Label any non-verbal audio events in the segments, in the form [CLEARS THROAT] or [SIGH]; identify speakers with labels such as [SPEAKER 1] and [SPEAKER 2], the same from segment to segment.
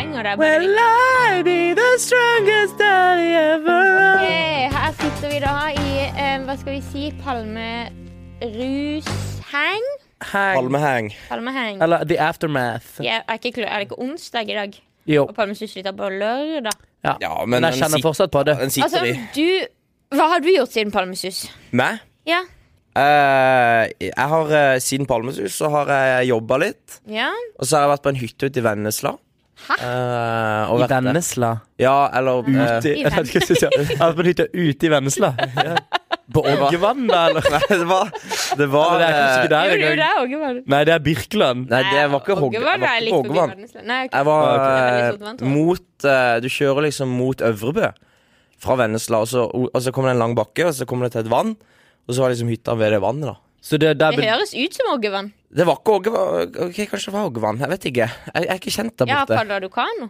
[SPEAKER 1] når jeg bare
[SPEAKER 2] Will I be the strongest daddy ever?
[SPEAKER 1] Ok, Her sitter vi da i eh, hva skal vi si palmerusheng?
[SPEAKER 2] Hang.
[SPEAKER 3] Palmeheng.
[SPEAKER 1] Palmeheng.
[SPEAKER 2] Eller The Aftermath.
[SPEAKER 1] Jeg er, ikke, klar- er det ikke onsdag i dag?
[SPEAKER 2] Jo.
[SPEAKER 1] Og palmesus er på lørdag.
[SPEAKER 2] Ja.
[SPEAKER 3] Ja, men
[SPEAKER 2] men jeg
[SPEAKER 3] den
[SPEAKER 2] kjenner
[SPEAKER 3] sit-
[SPEAKER 2] fortsatt på det.
[SPEAKER 3] Den sitter
[SPEAKER 1] Altså,
[SPEAKER 3] i.
[SPEAKER 1] du Hva har du gjort siden palmesus?
[SPEAKER 3] Meg?
[SPEAKER 1] Ja.
[SPEAKER 3] Eh, jeg har eh, Siden Palmesus så har jeg jobba litt.
[SPEAKER 1] ja.
[SPEAKER 3] Og så har jeg vært på en hytte ute i Vennesla.
[SPEAKER 1] Hæ?
[SPEAKER 3] Eh, og
[SPEAKER 2] I
[SPEAKER 3] vært der.
[SPEAKER 2] Vennesla.
[SPEAKER 3] Ja, eller eh,
[SPEAKER 2] Ute i Vennesla? Jeg har på hytta ute i [LAUGHS] Vennesla. På Ågevann, da, eller?
[SPEAKER 3] Nei, [LAUGHS] det var Det var
[SPEAKER 2] Eller det er kanskje ikke
[SPEAKER 1] Gjorde
[SPEAKER 2] der
[SPEAKER 3] eh,
[SPEAKER 1] du det,
[SPEAKER 2] engang.
[SPEAKER 1] Ågevann?
[SPEAKER 2] Nei, det er Birkeland.
[SPEAKER 3] Nei, det var ikke Hogg- jeg var
[SPEAKER 1] Ågevann er
[SPEAKER 3] ikke
[SPEAKER 1] litt
[SPEAKER 3] på
[SPEAKER 1] forbi
[SPEAKER 3] Hoggevann.
[SPEAKER 1] verdensland. Nei, ok.
[SPEAKER 3] Jeg var
[SPEAKER 1] Det er sånn veldig
[SPEAKER 3] eh,
[SPEAKER 1] sotvann, tror jeg.
[SPEAKER 3] mot eh, Du kjører liksom mot Øvrebø fra Vennesla, og så, og så kommer det en lang bakke, og så kommer det til et vann. Og så var liksom hytta ved det vannet, da.
[SPEAKER 2] Så det, der,
[SPEAKER 1] Det
[SPEAKER 2] be-
[SPEAKER 1] høres ut som Ågevann.
[SPEAKER 3] Det var ikke Ågevann. Ok, kanskje det var Ågevann. Jeg vet ikke. Jeg, jeg er ikke kjent der
[SPEAKER 1] Ja,
[SPEAKER 3] borte.
[SPEAKER 1] padla du kano?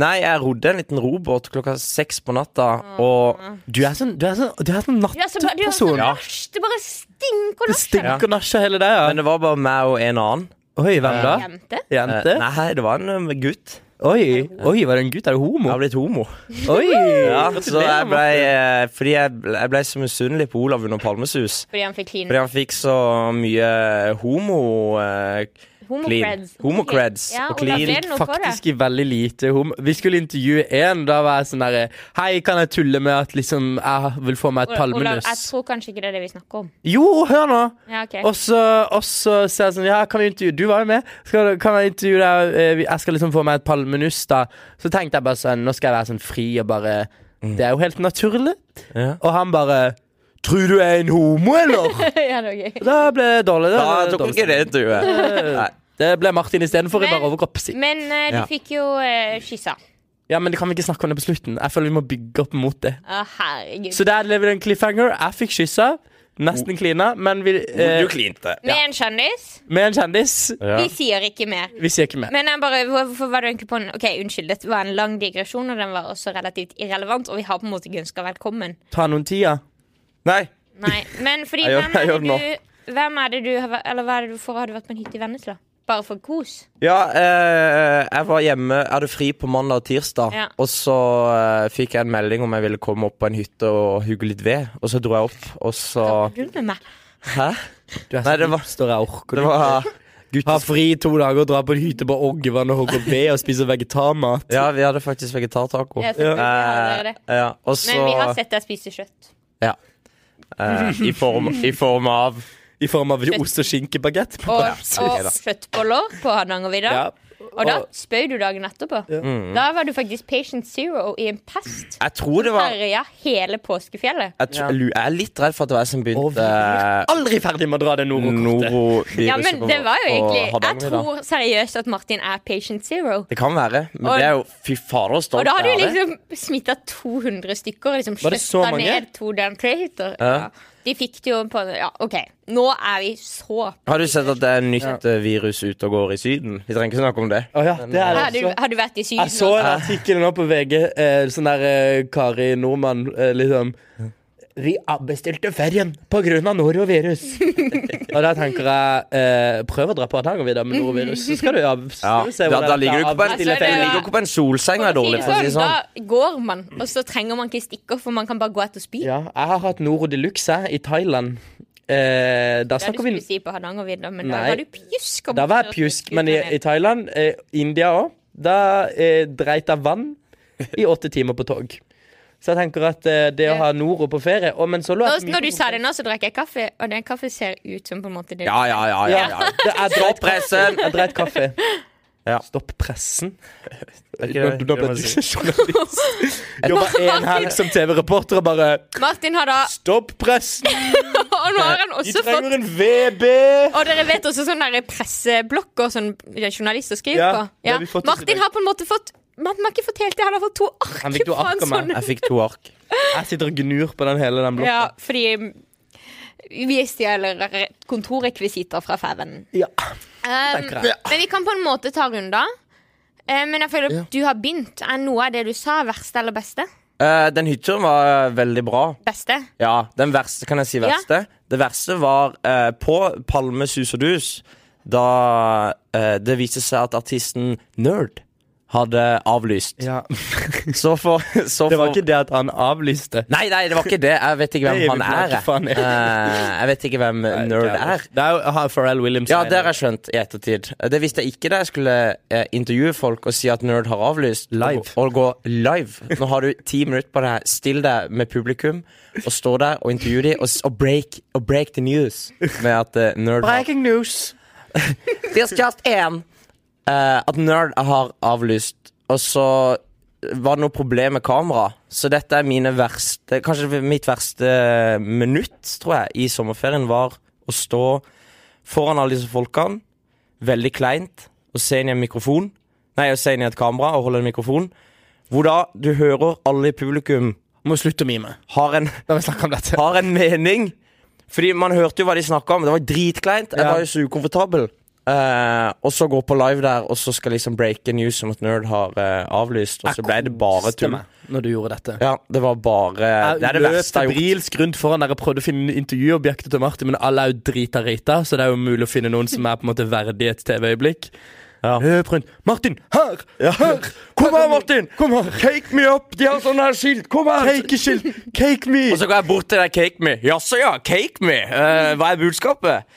[SPEAKER 3] Nei, jeg rodde en liten robåt klokka seks på natta, og
[SPEAKER 2] du er sånn, du er sånn, du er sånn
[SPEAKER 1] Du er så- du er
[SPEAKER 2] nattperson.
[SPEAKER 1] sånn nasj. Det bare stinker
[SPEAKER 2] Det
[SPEAKER 1] nasj. her.
[SPEAKER 2] stinker nasj av hele deg. Ja.
[SPEAKER 3] Men det var bare meg og en annen.
[SPEAKER 2] Oi, hvem da?
[SPEAKER 1] Jente?
[SPEAKER 2] Jente?
[SPEAKER 3] Eh, Nei, det var en eh, gutt.
[SPEAKER 2] Oi, oi, var det en gutt? Er du
[SPEAKER 3] Jeg
[SPEAKER 2] homo?
[SPEAKER 3] har blitt homo.
[SPEAKER 2] Oi!
[SPEAKER 3] Ja, så
[SPEAKER 2] Gratulerer,
[SPEAKER 3] jeg ble,
[SPEAKER 2] Martin.
[SPEAKER 3] eh, fordi jeg, ble- jeg ble så misunnelig på Olav under Palmesus.
[SPEAKER 1] Fordi han fikk
[SPEAKER 3] Fordi
[SPEAKER 1] kline.
[SPEAKER 3] han fikk så mye homo... eh,
[SPEAKER 1] Homocreds.
[SPEAKER 3] Clean. Homocreds
[SPEAKER 1] Ja,
[SPEAKER 3] og
[SPEAKER 1] og da
[SPEAKER 3] clean.
[SPEAKER 1] ble det noe for det.
[SPEAKER 2] Faktisk i veldig lite homo. Vi skulle intervjue én. Da var jeg sånn derre Hei, kan jeg tulle med at liksom jeg vil få meg et
[SPEAKER 1] Olav, Olav, jeg
[SPEAKER 2] palmenuss?
[SPEAKER 1] tror kanskje ikke det er det vi snakker om.
[SPEAKER 2] Jo, hør nå!
[SPEAKER 1] Ja, ok.
[SPEAKER 2] Og så, og så sier jeg sånn Ja, kan vi intervjue Du var jo med. Skal, kan jeg intervjue deg? Eh, vi- Jeg skal liksom få meg et palmenuss, da. Så tenkte jeg bare sånn Nå skal jeg være sånn fri og bare
[SPEAKER 3] Mm.
[SPEAKER 2] Det er jo helt naturlig.
[SPEAKER 3] Ja.
[SPEAKER 2] Og han bare Tror du jeg er en
[SPEAKER 1] [LAUGHS]
[SPEAKER 2] homo, eller?
[SPEAKER 1] [LAUGHS] ja, det var gøy.
[SPEAKER 2] Da ble det dårlig.
[SPEAKER 3] Da
[SPEAKER 2] Da,
[SPEAKER 3] tok ikke det intervjuet.
[SPEAKER 2] [LAUGHS]
[SPEAKER 3] Nei.
[SPEAKER 2] Det ble Martin istedenfor i
[SPEAKER 1] Men-
[SPEAKER 2] bare overkropp. Si.
[SPEAKER 1] Men eh, du
[SPEAKER 3] Ja.
[SPEAKER 1] fikk jo uh, kyssa.
[SPEAKER 2] Ja, men det kan vi ikke snakke om det på slutten. Jeg føler vi må bygge opp mot det.
[SPEAKER 1] Å, herregud.
[SPEAKER 2] Så der lever det en cliffhanger. Jeg fikk kyssa. Nesten klina, men vi, eh,
[SPEAKER 3] Du klinte.
[SPEAKER 1] Med en kjendis.
[SPEAKER 2] med en kjendis.
[SPEAKER 3] Ja.
[SPEAKER 1] Vi sier ikke mer.
[SPEAKER 2] Vi sier ikke mer.
[SPEAKER 1] Men jeg bare, hvorfor var du egentlig på en Ok, unnskyld, dette var en lang digresjon, og den var også relativt irrelevant, og vi har på en måte ikke ønska velkommen.
[SPEAKER 2] Ta noen tida.
[SPEAKER 3] Nei.
[SPEAKER 1] Nei, men fordi
[SPEAKER 3] [LAUGHS] Jeg gjør-
[SPEAKER 1] hvem
[SPEAKER 3] jeg
[SPEAKER 1] er
[SPEAKER 3] gjør
[SPEAKER 1] det du Hvem er det du har vært Eller hva er det du for har du vært på en hytte i Vennesla? Bare for kos?
[SPEAKER 3] Ja, eh, jeg var hjemme, jeg hadde fri på mandag og tirsdag,
[SPEAKER 1] Ja.
[SPEAKER 3] og så eh, fikk jeg en melding om jeg ville komme opp på en hytte og hugge litt ved, og så dro jeg opp, og så
[SPEAKER 1] Hva gjør du med meg?
[SPEAKER 3] Hæ?
[SPEAKER 2] Du er
[SPEAKER 3] Nei, det var-
[SPEAKER 2] står jeg orker
[SPEAKER 3] Det var
[SPEAKER 2] Ha fri i to dager, dra på en hytte på Oggevann og hogge [LAUGHS] ved og spise vegetarmat.
[SPEAKER 3] Ja, vi hadde faktisk vegetartaco.
[SPEAKER 1] Ja, selvfølgelig hadde dere det.
[SPEAKER 3] Eh, ja, og så
[SPEAKER 1] Men vi har sett deg spise kjøtt.
[SPEAKER 3] ja. Eh, i, form, I form av
[SPEAKER 2] I form av ost og skinkebagett. på
[SPEAKER 1] Og,
[SPEAKER 2] kvelden.
[SPEAKER 1] og kjøttboller på Hardangervidda.
[SPEAKER 2] Ja.
[SPEAKER 1] Og da spøy du dagen etterpå. Da var du faktisk patient zero i en pest.
[SPEAKER 3] Jeg tror det var jeg,
[SPEAKER 1] Herja hele påskefjellet.
[SPEAKER 3] tr- lu- jeg er litt redd for at det var jeg som
[SPEAKER 2] Og vi
[SPEAKER 3] begynte eh,
[SPEAKER 2] er aldri ferdig med å dra det norokortet.
[SPEAKER 3] noroviruset
[SPEAKER 1] Ja, men det var jo
[SPEAKER 3] på- på
[SPEAKER 1] egentlig Jeg
[SPEAKER 3] Hardangervidda.
[SPEAKER 1] tror seriøst at Martin er patient zero.
[SPEAKER 3] Det kan være, men
[SPEAKER 1] Og-
[SPEAKER 3] det er jo Fy fader, så
[SPEAKER 1] Og
[SPEAKER 3] stolt
[SPEAKER 1] da har du
[SPEAKER 3] jeg er.
[SPEAKER 1] liksom smitta 200 stykker. og Liksom
[SPEAKER 2] Var det så
[SPEAKER 1] skjøtta
[SPEAKER 2] mange?
[SPEAKER 1] ned to damn traitors.
[SPEAKER 3] Ja.
[SPEAKER 1] Ja. De fikk det jo på Ja, OK. Nå er vi så
[SPEAKER 3] Har du sett at det er nytt eh, virus ute og går i Syden? Vi trenger ikke snakke om det.
[SPEAKER 2] Å ja, det er det
[SPEAKER 1] Har du,
[SPEAKER 2] også.
[SPEAKER 1] har du vært i Syden?
[SPEAKER 2] Jeg så en artikkel nå på VG. Eh, sånn der eh, Kari Nordmann, eh, liksom. Vi avbestilte ferien pga.
[SPEAKER 1] [LAUGHS]
[SPEAKER 2] norovirus. og da tenker jeg eh, Prøv å dra på Hardangervidda med norovirus, så skal du av-
[SPEAKER 3] Ja,
[SPEAKER 2] skal du se
[SPEAKER 3] da,
[SPEAKER 2] hvordan
[SPEAKER 3] da
[SPEAKER 2] dette
[SPEAKER 3] ligger du ikke på en,
[SPEAKER 1] Altså, det
[SPEAKER 2] avbestiller
[SPEAKER 3] du
[SPEAKER 2] ferien.
[SPEAKER 3] ligger
[SPEAKER 1] var-
[SPEAKER 3] ikke på en solseng og er dårlig, for å si det sånn.
[SPEAKER 1] Da går man, og så trenger man ikke stikker, for man kan bare gå etter og spy.
[SPEAKER 2] Ja, jeg har hatt Noro de Luxe i Thailand. Eh, da
[SPEAKER 1] Det er du
[SPEAKER 2] snakker vi
[SPEAKER 1] skulle si på Hardangervidda, men da
[SPEAKER 2] Nei.
[SPEAKER 1] var du pjusk. og
[SPEAKER 2] Da var jeg
[SPEAKER 1] borte og
[SPEAKER 2] pjusk,
[SPEAKER 1] spiste
[SPEAKER 2] men i,
[SPEAKER 1] ned.
[SPEAKER 2] i Thailand, eh, India òg, da eh, dreit jeg vann i åtte timer på tog. Så jeg tenker at eh, det å ha Noro på ferie Å, men så lå
[SPEAKER 1] Nå,
[SPEAKER 2] jeg på
[SPEAKER 1] når du sa det nå, så drakk jeg kaffe, og den kaffe ser ut som på en måte det.
[SPEAKER 3] Ja, ja, ja. ja,
[SPEAKER 2] Ja.
[SPEAKER 3] ja.
[SPEAKER 2] Det er
[SPEAKER 3] Stopp pressen!
[SPEAKER 2] Jeg dreit kaffe.
[SPEAKER 3] Ja.
[SPEAKER 2] Stopp pressen.
[SPEAKER 3] ikke det-
[SPEAKER 2] Nå
[SPEAKER 3] det
[SPEAKER 2] ble
[SPEAKER 3] må
[SPEAKER 2] du
[SPEAKER 3] jeg
[SPEAKER 2] journalist. Jobba en helg som TV-reporter og bare
[SPEAKER 1] Martin har da [LAUGHS]
[SPEAKER 2] Stopp pressen!
[SPEAKER 1] Og nå har han
[SPEAKER 2] Vi
[SPEAKER 1] også fått
[SPEAKER 2] trenger en VB!
[SPEAKER 1] og dere vet også sånne der presseblokker som journalister skriver
[SPEAKER 2] Ja,
[SPEAKER 1] på.
[SPEAKER 2] det har vi fått oss i dag.
[SPEAKER 1] Martin har på en måte fått Martin har ikke fått helt det, han har fått to ark.
[SPEAKER 2] Han fikk to
[SPEAKER 1] fra en
[SPEAKER 2] ark av meg.
[SPEAKER 1] sånn-
[SPEAKER 3] Jeg fikk to ark.
[SPEAKER 2] Jeg sitter og gnur på den hele den blokka.
[SPEAKER 1] Ja, fordi eh, vi stjeler re- kontorrekvisitter fra Fæven.
[SPEAKER 2] Ja.
[SPEAKER 1] Um,
[SPEAKER 2] tenker jeg.
[SPEAKER 1] men vi kan på en måte ta runder. Eh, men jeg føler du har begynt. Er noe av det du sa, verste eller beste?
[SPEAKER 3] Eh, den hytteturen var eh, veldig bra.
[SPEAKER 1] Beste.
[SPEAKER 3] Ja, den verste, kan jeg si verste? Det verste var eh, på Palme sus og dus, da eh, det viste seg at artisten Nerd hadde avlyst.
[SPEAKER 2] Ja.
[SPEAKER 3] Så for, så
[SPEAKER 2] [LAUGHS] Det var
[SPEAKER 3] for-
[SPEAKER 2] ikke det at han avlyste.
[SPEAKER 3] Nei, nei, det var ikke det. Jeg vet ikke
[SPEAKER 2] Det er
[SPEAKER 3] hvem han
[SPEAKER 2] jo
[SPEAKER 3] er.
[SPEAKER 2] ikke faen jeg.
[SPEAKER 3] Eh, jeg vet ikke hvem nerd er.
[SPEAKER 2] Det er jo ha- Pharrell Williams.
[SPEAKER 3] Ja, det har jeg skjønt i ettertid. Det visste jeg ikke da jeg skulle eh, intervjue folk og si at nerd har avlyst.
[SPEAKER 2] Live.
[SPEAKER 3] Og, og gå live. Nå har du ti minutter på deg. Still deg med publikum og stå der og intervjue dem, og, s- og, break, og break the news med at eh, nerd har
[SPEAKER 2] Breaking news.
[SPEAKER 3] There's just én. Eh, at nerd har avlyst. Og så var det noe problem med kamera. Så dette er mine verste Kanskje mitt verste minutt, tror jeg, i sommerferien var å stå foran alle disse folkene, veldig kleint, og se inn i en mikrofon. Nei, å se inn i et kamera og holde en mikrofon. Hvor da du hører alle i publikum
[SPEAKER 2] Må slutte å mime.
[SPEAKER 3] har en
[SPEAKER 2] La meg snakke om dette.
[SPEAKER 3] har en mening. Fordi man hørte jo hva de snakka om. Det var dritkleint. Jeg
[SPEAKER 2] Ja.
[SPEAKER 3] var jo så ukomfortabel. Eh, og så gå på live der, og så skal liksom breake news om at Nerd har eh, avlyst. Og så ble det bare tull.
[SPEAKER 2] Stemme, Når du gjorde dette.
[SPEAKER 3] Ja, det var bare Eh, Det er det verste jeg har gjort.
[SPEAKER 2] Brilsk rundt foran der og prøvde å finne intervjuobjektet til Martin, men alle er jo drita rita, så det er jo mulig å finne noen som er på en måte verdig et TV-øyeblikk.
[SPEAKER 3] Ja.
[SPEAKER 2] Løp rundt. Martin, her! Her! [LAUGHS]
[SPEAKER 3] Kom her, Martin!
[SPEAKER 2] Kom her!
[SPEAKER 3] Cake me up! De har sånne her skilt! Kom her!
[SPEAKER 2] Cake shield! Cake me!
[SPEAKER 3] Og så går jeg bort til deg, cake me. Jaså, ja, cake me. Eh, hva er budskapet?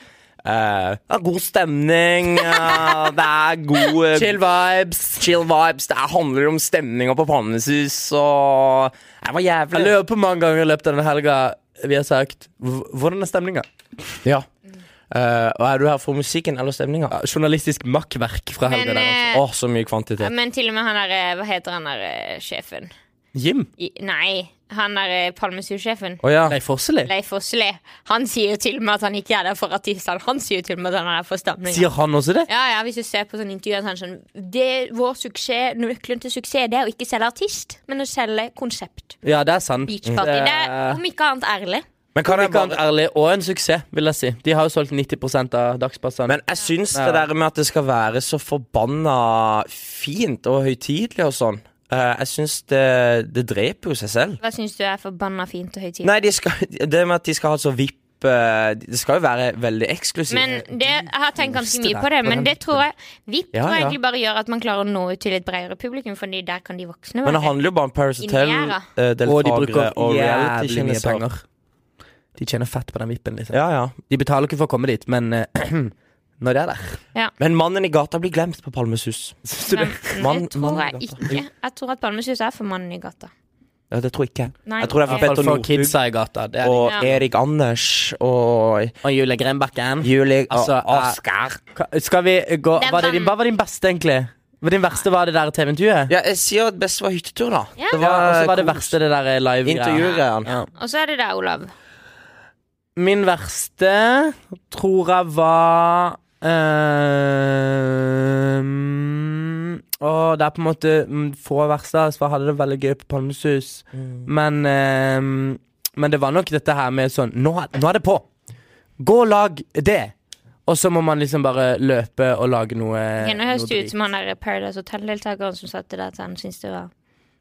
[SPEAKER 3] Eh, det er god stemning. eh, det er god eh,
[SPEAKER 2] Chill vibes.
[SPEAKER 3] chill vibes. Det handler om stemninga på Pannesus og Nei, Det var jævlig.
[SPEAKER 2] Jeg lurer på mange ganger i løpet av denne helga vi har sagt "Hv- Hvordan er stemninga?
[SPEAKER 3] Ja. Eh, og er du her for musikken eller stemninga? Åh,
[SPEAKER 2] Journalistisk makkverk fra helga
[SPEAKER 1] Men,
[SPEAKER 2] der.
[SPEAKER 1] eh,
[SPEAKER 2] altså.
[SPEAKER 3] så mye kvantitet.
[SPEAKER 1] men til og med han der eh, Hva heter han der eh, sjefen?
[SPEAKER 2] Jim?
[SPEAKER 1] I, nei, han der eh, Palmesus-sjefen.
[SPEAKER 3] Å ja.
[SPEAKER 2] Nei, Fosseli?
[SPEAKER 1] Leif Åsli. Han sier jo til og med at han ikke er der for artistene. Han sier jo til og med at han er der for stamninga.
[SPEAKER 2] Sier han også det?
[SPEAKER 1] Ja, ja, hvis du ser på sånne intervjuer, så er han sånn det, Vår suksess, nøkkelen til suksess det er å ikke selge artist, men å selge konsept.
[SPEAKER 2] Ja, det er sant.
[SPEAKER 1] Beach party. Det
[SPEAKER 2] Eh,
[SPEAKER 1] er om ikke annet ærlig.
[SPEAKER 3] Men kan jeg
[SPEAKER 2] Ikke annet
[SPEAKER 3] bare
[SPEAKER 2] ærlig, og en suksess, vil jeg si. De har jo solgt 90 av dagspassene.
[SPEAKER 3] Men jeg syns det der med at det skal være så forbanna fint og høytidelig og sånn eh, Jeg syns det, det dreper jo seg selv.
[SPEAKER 1] Hva syns du er forbanna fint og høytidelig?
[SPEAKER 3] Nei, de skal, det med at de skal ha så VIP eh, Det skal jo være veldig eksklusivt.
[SPEAKER 1] Men det, Jeg har tenkt ganske mye
[SPEAKER 2] deg
[SPEAKER 1] på det,
[SPEAKER 2] på den
[SPEAKER 1] men det tror jeg VIP
[SPEAKER 3] Ja,
[SPEAKER 1] tror jeg
[SPEAKER 3] ja.
[SPEAKER 1] egentlig bare gjør at man klarer å nå ut til et bredere publikum, Fordi der kan de voksne
[SPEAKER 3] Men det
[SPEAKER 1] være.
[SPEAKER 3] handler jo bare om Paris
[SPEAKER 1] Inni her,
[SPEAKER 3] Hotel-deltakere
[SPEAKER 2] Og de bruker
[SPEAKER 3] og
[SPEAKER 2] jævlig mye
[SPEAKER 3] reality-kjendiser.
[SPEAKER 2] penger. De tjener fett på den vippen. Liksom.
[SPEAKER 3] Ja, ja.
[SPEAKER 2] De betaler ikke for å komme dit, men eh, [CLEARS THROAT] når det er der
[SPEAKER 3] Men mannen i gata blir glemt på Palmesus.
[SPEAKER 2] Syns du det?
[SPEAKER 1] Men
[SPEAKER 3] Mann-
[SPEAKER 1] det tror
[SPEAKER 3] mannen i
[SPEAKER 1] jeg
[SPEAKER 3] gata.
[SPEAKER 1] ikke. Jeg tror at Palmesus er for mannen i gata.
[SPEAKER 3] Ja, det tror jeg ikke.
[SPEAKER 1] Nei,
[SPEAKER 3] Jeg tror det er for
[SPEAKER 1] ikke.
[SPEAKER 3] Petter
[SPEAKER 2] For
[SPEAKER 3] Northug.
[SPEAKER 2] kidsa i gata. Det er
[SPEAKER 3] og
[SPEAKER 1] Ja.
[SPEAKER 3] Erik Anders og
[SPEAKER 2] Og Julie Grenbakken.
[SPEAKER 3] Julie
[SPEAKER 2] Altså,
[SPEAKER 3] og
[SPEAKER 2] eh,
[SPEAKER 3] Oskar.
[SPEAKER 2] Ka- Skal vi gå
[SPEAKER 1] Det er
[SPEAKER 2] var det din,
[SPEAKER 1] vann.
[SPEAKER 2] Hva var din beste, egentlig? Hva Din verste var det der TV-intervjuet?
[SPEAKER 3] Ja, jeg sier at best var hyttetur, da.
[SPEAKER 1] Ja.
[SPEAKER 2] Ja, og så var det verste det der eh, live-greia.
[SPEAKER 3] intervjugreiene.
[SPEAKER 2] Ja.
[SPEAKER 1] Og så er det der, Olav.
[SPEAKER 2] Min verste tror jeg var ehm, Å, det er på en måte mm, få verste. Så jeg hadde det veldig gøy på Palmesus. Men, ehm, men det var nok dette her med sånn Nå, er- nå er det på! Gå og lag det! Og så må man liksom bare løpe og lage noe
[SPEAKER 1] Nå
[SPEAKER 2] noe
[SPEAKER 1] høres det ut
[SPEAKER 2] drit.
[SPEAKER 1] som han der Paradise Hotel-deltakeren som satte der at han syntes det var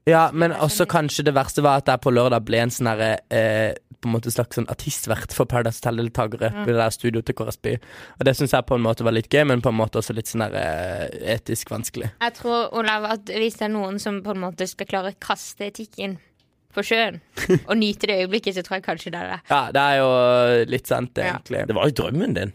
[SPEAKER 2] Ja, men også kanskje det verste var at jeg på lørdag ble en sånn herre eh, På en måte slags sånn artistvert for Paradise Hotel-deltakere på det der studioet til KRSB. Og det syns jeg på en måte var litt gøy, men på en måte også litt sånn herre eh, etisk vanskelig.
[SPEAKER 1] Jeg tror, Olav, at hvis det er noen som på en måte skal klare å kaste etikken på
[SPEAKER 2] [LAUGHS]
[SPEAKER 1] sjøen og nyte det øyeblikket, så tror jeg kanskje det er det.
[SPEAKER 2] Ja, det er jo litt sant,
[SPEAKER 1] Ja.
[SPEAKER 2] egentlig.
[SPEAKER 3] Det var jo drømmen din.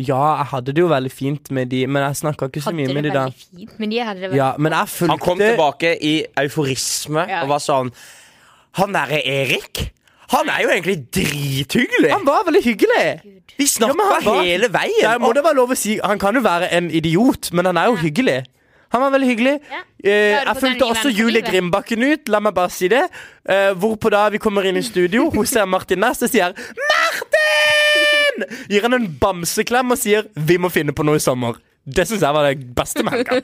[SPEAKER 2] Ja, jeg hadde det jo veldig fint med de, men jeg snakka ikke så
[SPEAKER 1] Hadde
[SPEAKER 2] mye
[SPEAKER 1] det
[SPEAKER 2] med de da.
[SPEAKER 1] veldig fint, men de hadde det veldig
[SPEAKER 2] Ja, men jeg fulgte
[SPEAKER 3] Han kom tilbake i euforisme
[SPEAKER 1] Ja.
[SPEAKER 3] og var sånn Han derre Erik, han er jo egentlig drithyggelig!
[SPEAKER 2] Han var veldig hyggelig!
[SPEAKER 3] Vi
[SPEAKER 2] Ja, men
[SPEAKER 3] snakka
[SPEAKER 2] han var-
[SPEAKER 3] hele veien!
[SPEAKER 2] Det må det være lov å si. Han kan jo være en idiot, men han er jo hyggelig. Han var veldig hyggelig.
[SPEAKER 1] Ja. Da
[SPEAKER 2] Eh,
[SPEAKER 1] er du
[SPEAKER 2] jeg
[SPEAKER 1] på den
[SPEAKER 2] fulgte
[SPEAKER 1] nye
[SPEAKER 2] også
[SPEAKER 1] vennen for
[SPEAKER 2] Julie
[SPEAKER 1] livet.
[SPEAKER 2] Grimbakken ut, la meg bare si det. Eh, hvorpå da vi kommer inn i studio, hun ser Martin Næss og sier 'Martin!' Gir han en bamseklem og sier 'Vi må finne på noe i sommer'. Det syns jeg var det beste
[SPEAKER 1] [LAUGHS]
[SPEAKER 2] med helga.
[SPEAKER 3] Og-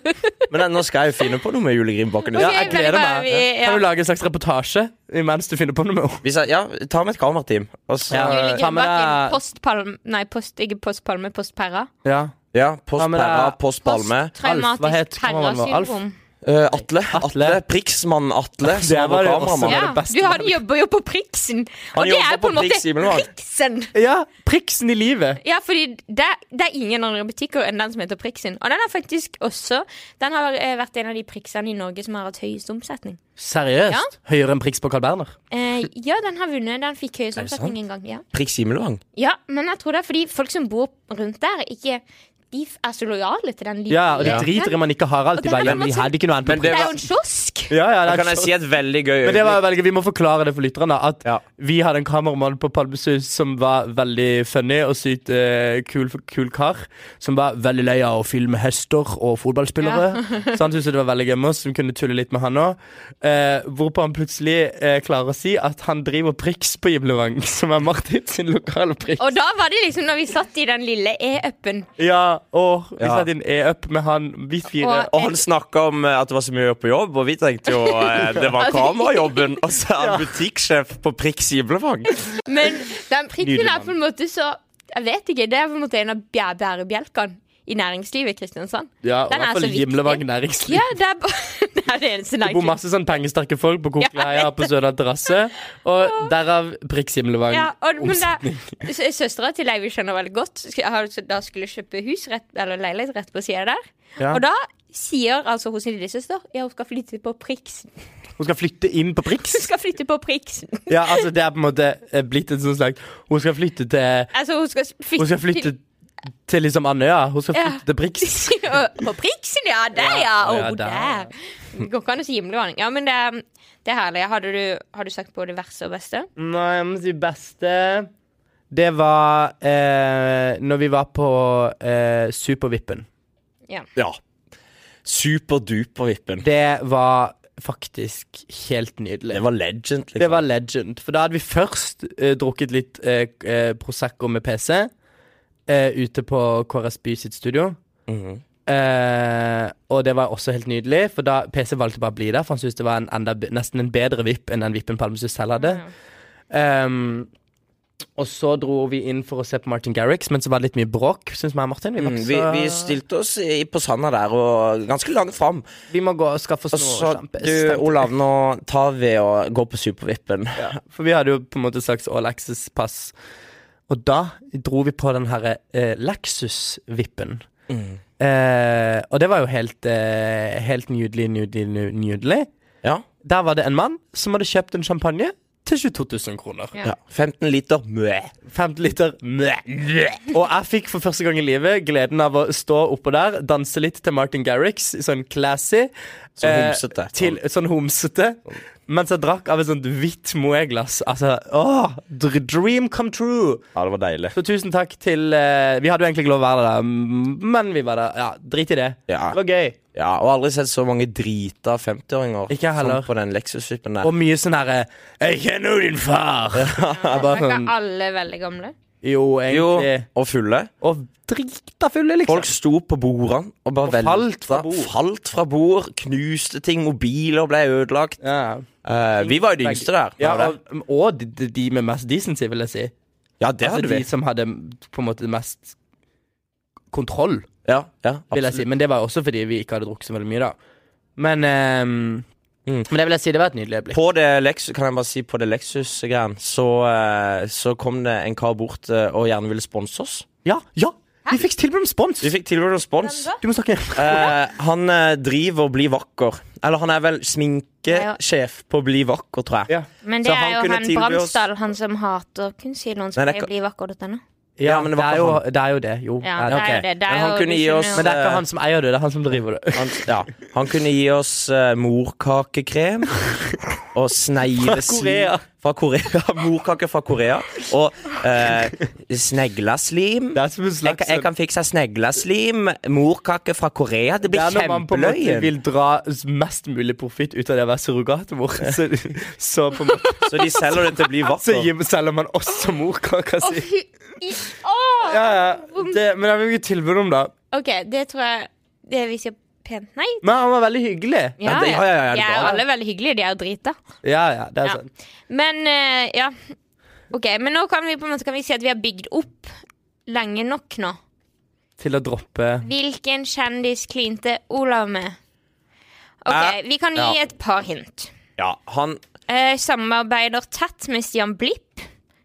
[SPEAKER 3] Men nå skal jeg jo finne på noe med Julie Grimbakken.
[SPEAKER 2] Ja,
[SPEAKER 1] Ok,
[SPEAKER 2] jeg
[SPEAKER 1] men
[SPEAKER 2] gleder
[SPEAKER 1] da er
[SPEAKER 2] meg.
[SPEAKER 1] vi- ja.
[SPEAKER 2] Kan du lage en slags reportasje mens du finner på noe med henne?
[SPEAKER 3] Hvis jeg, ja, ta med et kamerateam. Og så
[SPEAKER 2] Ja.
[SPEAKER 1] Julie
[SPEAKER 2] Ta med
[SPEAKER 1] Grønbakken,
[SPEAKER 2] deg-
[SPEAKER 1] postpalm... Nei, post, ikke postpalme, postperra.
[SPEAKER 2] Ja.
[SPEAKER 3] Ja, post
[SPEAKER 2] Ta med
[SPEAKER 3] Perra,
[SPEAKER 2] deg-
[SPEAKER 3] post Palme.
[SPEAKER 2] Alf, hva het
[SPEAKER 1] Posttraumatisk
[SPEAKER 2] kameraet vår? Alf?
[SPEAKER 1] perra-syndrom.
[SPEAKER 3] Eh, Atle. Atle.
[SPEAKER 2] Atle.
[SPEAKER 3] Priksmann Atle, som
[SPEAKER 2] Det
[SPEAKER 3] var
[SPEAKER 2] var det
[SPEAKER 3] vår kameramann.
[SPEAKER 1] Ja,
[SPEAKER 2] også. det beste
[SPEAKER 1] du han jobber jo på Priksen, og
[SPEAKER 3] Han
[SPEAKER 1] det er
[SPEAKER 3] jobber
[SPEAKER 1] på en
[SPEAKER 3] på
[SPEAKER 1] måte
[SPEAKER 3] Prix Himmelvang.
[SPEAKER 1] Priksen.
[SPEAKER 2] Ja, priksen i livet.
[SPEAKER 1] Ja, fordi det, det er ingen andre butikker enn den som heter Priksen. Og den er faktisk også Den har eh, vært en av de priksene i Norge som har hatt høyest omsetning.
[SPEAKER 2] Seriøst?
[SPEAKER 1] Ja.
[SPEAKER 2] Høyere enn priks på Carl Berner? Hm.
[SPEAKER 1] Eh, ja, den har vunnet. Den fikk høyest
[SPEAKER 3] det
[SPEAKER 1] omsetning en gang. Ja.
[SPEAKER 3] Priks Himmelvang.
[SPEAKER 1] ja, men jeg tror det er fordi folk som bor rundt der, ikke De f- er så lojale til den lille
[SPEAKER 2] Ja, og de
[SPEAKER 3] Ja.
[SPEAKER 2] driter i om man ikke har alt.
[SPEAKER 1] Og
[SPEAKER 2] De
[SPEAKER 1] den
[SPEAKER 2] bare,
[SPEAKER 1] er
[SPEAKER 2] ja,
[SPEAKER 1] på en
[SPEAKER 2] men de
[SPEAKER 1] måte-
[SPEAKER 2] hadde ikke noe annet på
[SPEAKER 3] Men
[SPEAKER 1] Det
[SPEAKER 3] det
[SPEAKER 1] er
[SPEAKER 3] var-
[SPEAKER 1] jo en kiosk!
[SPEAKER 2] pri- Ja, ja, det
[SPEAKER 3] Da
[SPEAKER 2] er
[SPEAKER 3] kan jeg
[SPEAKER 2] så-
[SPEAKER 3] si et veldig gøy
[SPEAKER 2] Men det var
[SPEAKER 3] øyeblikk.
[SPEAKER 2] veldig, Vi må forklare det for lytterne. At
[SPEAKER 3] Ja.
[SPEAKER 2] vi hadde en kameramann på Palmesus som var veldig funny og sykt eh, kul, kul kar. Som var veldig lei av å filme hester og
[SPEAKER 3] [LAUGHS]
[SPEAKER 2] fotballspillere. så han syntes det var veldig gøy med oss, som kunne tulle litt med han òg. Eh, hvorpå han plutselig eh, klarer å si at han driver priks på Gimlevang, [LAUGHS] som er Martin sin lokale prikk.
[SPEAKER 1] Og da var det liksom når vi satt i den lille e-upen.
[SPEAKER 2] Ja, og vi
[SPEAKER 3] Ja.
[SPEAKER 2] satte inn e-up med han, vi fire.
[SPEAKER 1] Og-
[SPEAKER 3] Og han snakka om eh, at det var så mye å gjøre på jobb, og vi tenkte jo eh, det var kamerajobben. Og så er han butikksjef på Priks Himmelvang.
[SPEAKER 1] Men den prikken
[SPEAKER 2] Nydelig
[SPEAKER 1] er på en måte så Jeg vet ikke. Det er på en måte en av bjæ- bærebjelkene i næringslivet i Kristiansand.
[SPEAKER 2] Ja, og i
[SPEAKER 1] Den er
[SPEAKER 2] hvert
[SPEAKER 1] så
[SPEAKER 2] fall
[SPEAKER 1] viktig.
[SPEAKER 2] Gimlevang næringsliv.
[SPEAKER 1] Ja, det er, ba- [LAUGHS] det, er det eneste
[SPEAKER 2] Det bor
[SPEAKER 1] næringslivet.
[SPEAKER 2] masse sånn pengesterke folk på Kokeleia på Sødal terrasse, og derav Priks Himmelvang.
[SPEAKER 1] Ja, og, men da, sø- søstera til Leivi skjønner veldig godt. sk- har- Da skulle kjøpe hus rett, eller leilighet rett på sida der.
[SPEAKER 2] Ja.
[SPEAKER 1] Og da sier altså hun sin lillesøster ja, hun skal flytte på Priksen.
[SPEAKER 2] Hun skal flytte inn på Priks.
[SPEAKER 1] Hun [LAUGHS] skal flytte på Priksen.
[SPEAKER 2] Ja, altså Det er på en måte eh, blitt en sånn slags Hun skal flytte til
[SPEAKER 1] Altså, hun skal s- flytte,
[SPEAKER 2] Hun skal flytte
[SPEAKER 1] [LAUGHS]
[SPEAKER 2] til liksom Andøya. Hun skal
[SPEAKER 1] Ja.
[SPEAKER 2] flytte til
[SPEAKER 1] [LAUGHS]
[SPEAKER 2] Priks.
[SPEAKER 1] til- Å, På Priksen, ja! Der, ja!
[SPEAKER 2] Ja,
[SPEAKER 1] Å,
[SPEAKER 2] ja, der, ja.
[SPEAKER 1] der. Det går ikke an å si himmelvarning. Ja, men det, er- det er herlig. Hadde du, har du sagt både verste og beste?
[SPEAKER 2] Nei, jeg må si beste Det var eh, når vi var på eh, Supervippen.
[SPEAKER 3] Ja. Superduper-vippen.
[SPEAKER 2] Det var faktisk helt nydelig.
[SPEAKER 3] Det var legend,
[SPEAKER 2] Det
[SPEAKER 3] liksom.
[SPEAKER 2] var legend. For da hadde vi først eh, drukket litt eh, k- eh, Prosecco med PC eh, ute på KRS By sitt studio.
[SPEAKER 3] Mhm.
[SPEAKER 2] Eh, og det var også helt nydelig, for da PC valgte bare å bli der, for han syntes det var en enda, be- nesten en bedre vipp enn den vippen Palmesus selv hadde. Ehm, og så dro vi inn for å se på Martin Garrix, men så var det litt mye bråk, syns meg og Martin. Vi, var
[SPEAKER 3] Mm,
[SPEAKER 2] ikke
[SPEAKER 3] vi,
[SPEAKER 2] så-
[SPEAKER 3] vi stilte oss i, på sanda der, og ganske langt fram.
[SPEAKER 2] vi må gå og skaffe
[SPEAKER 3] Og
[SPEAKER 2] oss
[SPEAKER 3] så,
[SPEAKER 2] noe sjampis.
[SPEAKER 3] du,
[SPEAKER 2] tenkte
[SPEAKER 3] Olav, nå tar vi og går på Supervippen.
[SPEAKER 2] Ja, for vi hadde jo på en måte et slags all access-pass. Og da dro vi på den herre eh, Lexus-vippen. Eh, og det var jo helt, eh, helt nydelig, nydelig, nu- nydelig.
[SPEAKER 3] Ja.
[SPEAKER 2] Der var det en mann som hadde kjøpt en champagne til 22 000 kroner.
[SPEAKER 1] Ja.
[SPEAKER 3] ja. 15 liter mø.
[SPEAKER 2] 50 liter. Mæ, mæ. Og jeg fikk for første gang i livet gleden av å stå oppå der, danse litt til Martin Garrix, sånn classy.
[SPEAKER 3] Sånn
[SPEAKER 2] eh,
[SPEAKER 3] homsete.
[SPEAKER 2] Til, sånn homsete. Mens jeg drakk av et sånt hvitt Moët-glass. Altså, åh, dr- dream come true!
[SPEAKER 3] Ja, det var deilig.
[SPEAKER 2] Så tusen takk til eh, Vi hadde jo egentlig ikke lov å være der, m- men vi var der. Ja, drit i det.
[SPEAKER 3] Ja.
[SPEAKER 2] Det var gøy.
[SPEAKER 3] Ja, og aldri sett så mange drita 50-åringer
[SPEAKER 2] Ikke jeg heller.
[SPEAKER 3] som på den Lexus-vippen der.
[SPEAKER 2] Og mye sånn herre Jeg kjenner jo din far! Jeg
[SPEAKER 1] Er
[SPEAKER 2] [LAUGHS] bare
[SPEAKER 1] ikke
[SPEAKER 2] sånn
[SPEAKER 1] alle veldig gamle?
[SPEAKER 2] Jo,
[SPEAKER 3] Jo,
[SPEAKER 2] egentlig.
[SPEAKER 3] og fulle.
[SPEAKER 2] Og drita fulle, liksom.
[SPEAKER 3] Folk sto på bordene og bare
[SPEAKER 2] Og falt fra
[SPEAKER 3] velta.
[SPEAKER 2] bord.
[SPEAKER 3] Falt fra bord, knuste ting, mobiler ble ødelagt.
[SPEAKER 2] ja.
[SPEAKER 3] Eh, vi var jo de yngste der.
[SPEAKER 2] Ja,
[SPEAKER 3] var det?
[SPEAKER 2] og, mm, og de, de med mest decency, vil jeg si.
[SPEAKER 3] ja det
[SPEAKER 2] Altså
[SPEAKER 3] hadde
[SPEAKER 2] de
[SPEAKER 3] vi.
[SPEAKER 2] som hadde på en måte mest kontroll,
[SPEAKER 3] Ja, ja,
[SPEAKER 2] vil jeg si.
[SPEAKER 3] absolutt.
[SPEAKER 2] Men det var jo også fordi vi ikke hadde drukket så veldig mye, da. Men, ehm, men det vil jeg si, det var et nydelig øyeblikk.
[SPEAKER 3] På det Lexus, kan jeg bare si på det Lexus-greien, så, eh, så kom det en kar bort eh, og gjerne ville sponse oss.
[SPEAKER 2] Ja, ja! Vi fikk tilbud om spons!
[SPEAKER 3] Vi fikk tilbud om spons.
[SPEAKER 1] Hvem da?
[SPEAKER 2] Du må snakke.
[SPEAKER 3] Eh, han eh, driver og blir vakker. Eller han er vel sminkesjef på Bli vakker, tror jeg.
[SPEAKER 2] Ja.
[SPEAKER 1] Men
[SPEAKER 3] Så
[SPEAKER 1] det
[SPEAKER 3] han
[SPEAKER 1] er jo
[SPEAKER 3] kunne
[SPEAKER 1] han
[SPEAKER 3] tilby oss-
[SPEAKER 1] Bramsdal, han som hater kunstkinoen, som
[SPEAKER 3] Nei, det
[SPEAKER 1] pleier
[SPEAKER 3] er
[SPEAKER 1] å bli vakker.no.
[SPEAKER 2] Ja, men
[SPEAKER 3] men
[SPEAKER 2] det,
[SPEAKER 3] det var
[SPEAKER 2] er
[SPEAKER 3] ikke
[SPEAKER 2] jo, det er jo det. Jo.
[SPEAKER 1] Ja, det
[SPEAKER 2] det er det.
[SPEAKER 1] er jo det. det er
[SPEAKER 3] Men han
[SPEAKER 1] jo
[SPEAKER 3] kunne gi
[SPEAKER 1] du skjønner
[SPEAKER 3] oss-
[SPEAKER 1] jo-
[SPEAKER 2] Men det er ikke han som eier det, det er han som driver det.
[SPEAKER 3] Han, ja. han kunne gi oss eh, morkakekrem og sneglesil
[SPEAKER 2] Korea.
[SPEAKER 3] Fra Korea. [LAUGHS] Morkake fra Korea. Og eh, sneglaslim.
[SPEAKER 2] Det er som en sånn-
[SPEAKER 3] Jeg, kan- jeg kan fikse sneglaslim, morkake fra Korea. Det
[SPEAKER 2] det
[SPEAKER 3] blir
[SPEAKER 2] er når man på en måte
[SPEAKER 3] kjempeløyen.
[SPEAKER 2] vil dra mest mulig profitt ut av det å være [LAUGHS] surrogatmor. Så, så på en måte
[SPEAKER 3] Så de selger det til å
[SPEAKER 2] [LAUGHS]
[SPEAKER 3] bli
[SPEAKER 2] Så
[SPEAKER 3] vakker.
[SPEAKER 2] gir- selger man også morkaka
[SPEAKER 1] Å,
[SPEAKER 2] si.
[SPEAKER 1] fy i- Å!
[SPEAKER 2] Ja, ja. Det, men det var ikke tilbud om, da.
[SPEAKER 1] OK, det tror jeg det vi sier pent nei.
[SPEAKER 2] Men han var veldig hyggelig.
[SPEAKER 1] Ja,
[SPEAKER 3] det- ja, ja, ja, det
[SPEAKER 1] de
[SPEAKER 3] er
[SPEAKER 1] er
[SPEAKER 3] bra,
[SPEAKER 1] alle veldig hyggelige. De er jo drita.
[SPEAKER 2] Ja, ja, det er sånn.
[SPEAKER 1] Ja.
[SPEAKER 2] sant.
[SPEAKER 1] Men eh, ja. OK, men nå kan vi på en måte kan vi si at vi har bygd opp lenge nok nå.
[SPEAKER 2] Til å droppe
[SPEAKER 1] Hvilken kjendis klinte Olav med? Ok, Vi kan gi
[SPEAKER 3] Eh, Ja.
[SPEAKER 1] et par hint.
[SPEAKER 3] Ja, han
[SPEAKER 1] Eh, samarbeider tett med Stian Blipp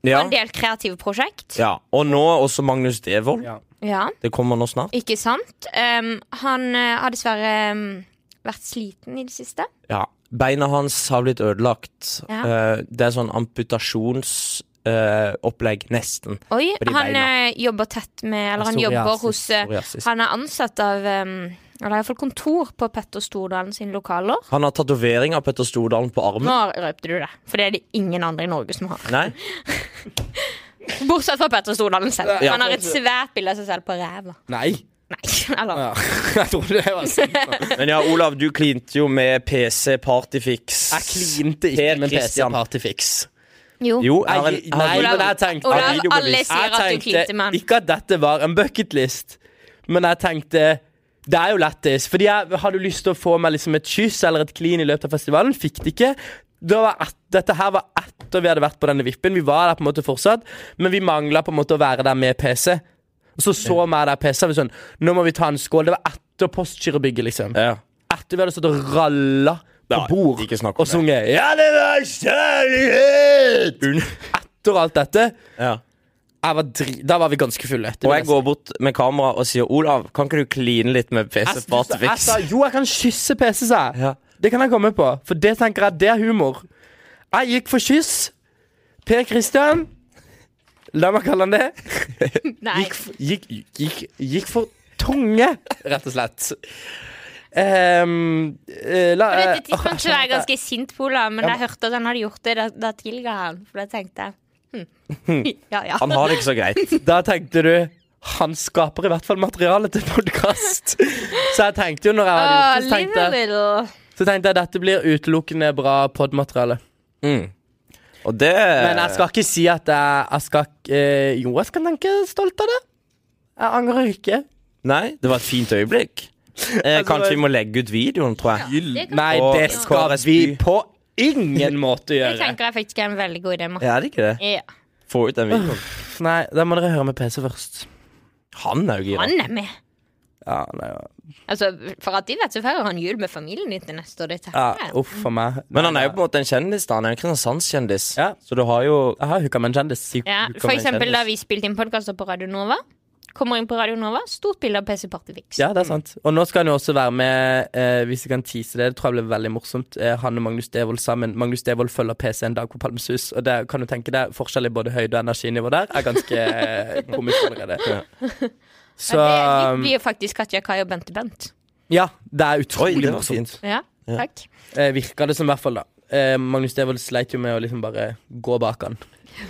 [SPEAKER 1] på
[SPEAKER 3] Ja.
[SPEAKER 1] en del kreative prosjekt.
[SPEAKER 3] ja. Og nå også Magnus Devold.
[SPEAKER 2] Ja.
[SPEAKER 1] Ja,
[SPEAKER 3] Det kommer nå snart.
[SPEAKER 1] ikke sant? Em, han eh, har dessverre em, vært sliten i det siste.
[SPEAKER 3] Ja. Beina hans har blitt ødelagt.
[SPEAKER 1] Ja.
[SPEAKER 3] Eh, det er sånn amputasjonsopplegg, nesten.
[SPEAKER 1] Oi,
[SPEAKER 3] På de
[SPEAKER 1] han
[SPEAKER 3] beina.
[SPEAKER 1] eh, jobber tett med Eller han
[SPEAKER 2] Psoriasis,
[SPEAKER 1] jobber hos eh,
[SPEAKER 3] psoriasis.
[SPEAKER 1] Han er ansatt av em, Eller iallfall kontor på Petter Stordalen sine lokaler.
[SPEAKER 3] Han har tatovering av Petter Stordalen på armen.
[SPEAKER 1] Nå røpte du det, for det er det ingen andre i Norge som har. [LAUGHS]
[SPEAKER 3] Nei?
[SPEAKER 1] Bortsett fra Petter Stordalen selv.
[SPEAKER 2] Ja.
[SPEAKER 1] Han har et svært bilde av seg selv på ræva.
[SPEAKER 2] Nei.
[SPEAKER 1] Nei, [LAUGHS] eller
[SPEAKER 2] Ja. [LAUGHS] Jeg trodde det var sykt.
[SPEAKER 3] Men ja, Olav, du klinte jo med PC Partyfix.
[SPEAKER 2] Jeg klinte ikke
[SPEAKER 3] Per
[SPEAKER 2] med PC
[SPEAKER 3] Christian.
[SPEAKER 2] Partyfix.
[SPEAKER 1] Jo.
[SPEAKER 3] Jo,
[SPEAKER 2] Jeg-
[SPEAKER 3] jeg,
[SPEAKER 2] Nei,
[SPEAKER 3] jeg, jeg,
[SPEAKER 1] Olav,
[SPEAKER 2] men jeg tenkte
[SPEAKER 1] Olav,
[SPEAKER 2] Jeg
[SPEAKER 1] alle sier at du
[SPEAKER 2] tenkte
[SPEAKER 1] klinte med han.
[SPEAKER 2] Ikke at dette var en bucketlist, men jeg tenkte det er jo lættis. Fordi jeg hadde jo lyst til å få meg liksom et kyss eller et klin i løpet av festivalen. Fikk det ikke. Da var et, dette her var etter vi hadde vært på denne vippen. Vi var der på en måte fortsatt, men vi mangla på en måte å være der med PC. Så så meg der PC, og vi sånn Nå må vi ta en skål. Det var etter Postgirobygget, liksom.
[SPEAKER 3] ja.
[SPEAKER 2] Etter vi hadde stått og ralla på
[SPEAKER 3] Ja,
[SPEAKER 2] bord
[SPEAKER 3] ikke snakk om
[SPEAKER 2] og
[SPEAKER 3] det.
[SPEAKER 2] sunget 'Ja, det var kjærlighet'.
[SPEAKER 3] Un-
[SPEAKER 2] Etter alt dette
[SPEAKER 3] ja.
[SPEAKER 2] jeg var dri Da var vi ganske fulle. Det
[SPEAKER 3] Og
[SPEAKER 2] vil
[SPEAKER 3] jeg
[SPEAKER 2] si.
[SPEAKER 3] går bort med kamera og sier Olav, kan ikke du kline litt med PC
[SPEAKER 2] Jeg- jeg
[SPEAKER 3] Partyfix?
[SPEAKER 2] sa jo, jeg kan kysse PC, sa jeg.
[SPEAKER 3] Ja.
[SPEAKER 2] Det kan jeg komme på, for det tenker jeg, det er humor. Jeg gikk for kyss. Per Christian La meg kalle han det.
[SPEAKER 1] Nei.
[SPEAKER 2] Gikk, for- gikk, gikk, gikk for tunge, rett og slett. Ehm, eh, la,
[SPEAKER 1] På
[SPEAKER 2] eh,
[SPEAKER 1] dette
[SPEAKER 2] åh,
[SPEAKER 1] tidspunktet
[SPEAKER 2] jeg
[SPEAKER 1] var jeg
[SPEAKER 2] skjønner at
[SPEAKER 1] ganske sint på Olav, men da jeg hørte at han hadde gjort det, da, da tilga han. For da tenkte jeg hm. [LAUGHS] Ja, ja.
[SPEAKER 3] Han har det ikke så greit.
[SPEAKER 2] jeg- Da tenkte du han skaper i hvert fall materiale til
[SPEAKER 1] [LAUGHS]
[SPEAKER 2] podkast. Så jeg tenkte jo når jeg
[SPEAKER 1] Åh,
[SPEAKER 2] hadde gjort det, så
[SPEAKER 1] live
[SPEAKER 2] tenkte
[SPEAKER 1] a
[SPEAKER 2] jeg
[SPEAKER 1] little.
[SPEAKER 2] Så tenkte jeg dette blir utelukkende bra podmateriale.
[SPEAKER 3] Og det
[SPEAKER 2] Men jeg skal ikke si at jeg, jeg skal ikke- eh, Jo, jeg skal tenke stolt av det. Jeg angrer ikke.
[SPEAKER 3] Nei, det var et fint
[SPEAKER 2] [LAUGHS]
[SPEAKER 3] øyeblikk. Eh,
[SPEAKER 2] Altså,
[SPEAKER 3] kanskje
[SPEAKER 2] det-
[SPEAKER 3] vi må legge ut videoen, tror jeg.
[SPEAKER 1] Det kan-
[SPEAKER 2] Nei,
[SPEAKER 3] Og
[SPEAKER 2] det skal
[SPEAKER 3] KRSU.
[SPEAKER 2] vi på ingen måte
[SPEAKER 1] Det
[SPEAKER 2] gjøre.
[SPEAKER 1] tenker jeg faktisk er en veldig god idé. Martin.
[SPEAKER 3] Ja, er det ikke det?
[SPEAKER 1] Ja.
[SPEAKER 3] Få ut den videoen.
[SPEAKER 2] Nei, da må dere høre med PC først.
[SPEAKER 3] Han er jo gira.
[SPEAKER 1] Han er med.
[SPEAKER 2] Ja, nei, ja.
[SPEAKER 1] Altså, For at de vet, så feirer han jul med familien din til neste år. Det tenker
[SPEAKER 2] ja
[SPEAKER 1] jeg.
[SPEAKER 2] uff for meg.
[SPEAKER 3] Men han er jo på en måte en kjendis, da. Han er en Kristiansandskjendis.
[SPEAKER 2] Ja.
[SPEAKER 3] Så du har jo
[SPEAKER 2] Jeg har hooka med en kjendis.
[SPEAKER 1] Ja,
[SPEAKER 3] Du kan
[SPEAKER 1] for
[SPEAKER 3] være
[SPEAKER 1] eksempel
[SPEAKER 3] kjendis.
[SPEAKER 1] da vi spilte inn podkaster på Radio Nova. Kommer inn på Radio Nova, stort bilde av PC Partyfix.
[SPEAKER 2] Ja,
[SPEAKER 3] Mm.
[SPEAKER 2] det er sant. Og nå skal han jo også være med, eh, hvis jeg kan tease det, det tror jeg blir veldig morsomt, eh, han og Magnus Devold sammen. Magnus Devold følger PC en dag på Palmesus, og det kan du tenke deg, forskjell i både høyde og energinivå der er ganske eh, komisk allerede. [LAUGHS] Så um,
[SPEAKER 1] Ja, Det blir jo faktisk Katja Kai og Bente Bent.
[SPEAKER 2] Ja, det er utrolig
[SPEAKER 3] Oi, det var
[SPEAKER 2] morsomt.
[SPEAKER 3] fint.
[SPEAKER 1] Ja, takk.
[SPEAKER 2] Eh, virker det som, i hvert fall, da. Eh, Magnus Devold sleit jo med å liksom bare gå bak han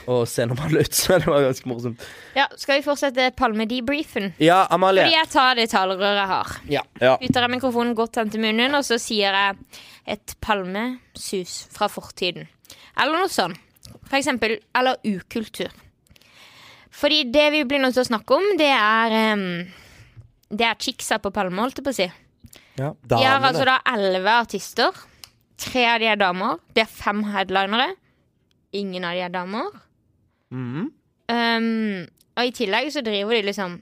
[SPEAKER 2] og se normal ut, [LAUGHS] så det var ganske morsomt.
[SPEAKER 1] Ja, Skal vi fortsette Palme-debriefen?
[SPEAKER 2] Ja, Amalie.
[SPEAKER 1] Fordi jeg tar det talerøret jeg har.
[SPEAKER 2] Ja.
[SPEAKER 3] Ja.
[SPEAKER 1] Bytter jeg mikrofonen godt hen til munnen, og så sier jeg et palmesus fra fortiden. Eller noe sånn. For eksempel Eller ukultur. Fordi det vi blir nødt til å snakke om, det er em, Det er chicksa på Palme, holdt jeg på å si. De har altså da elleve artister. Tre av de er damer. Det er fem headlinere. Ingen av de er damer. Um, og i tillegg så driver de liksom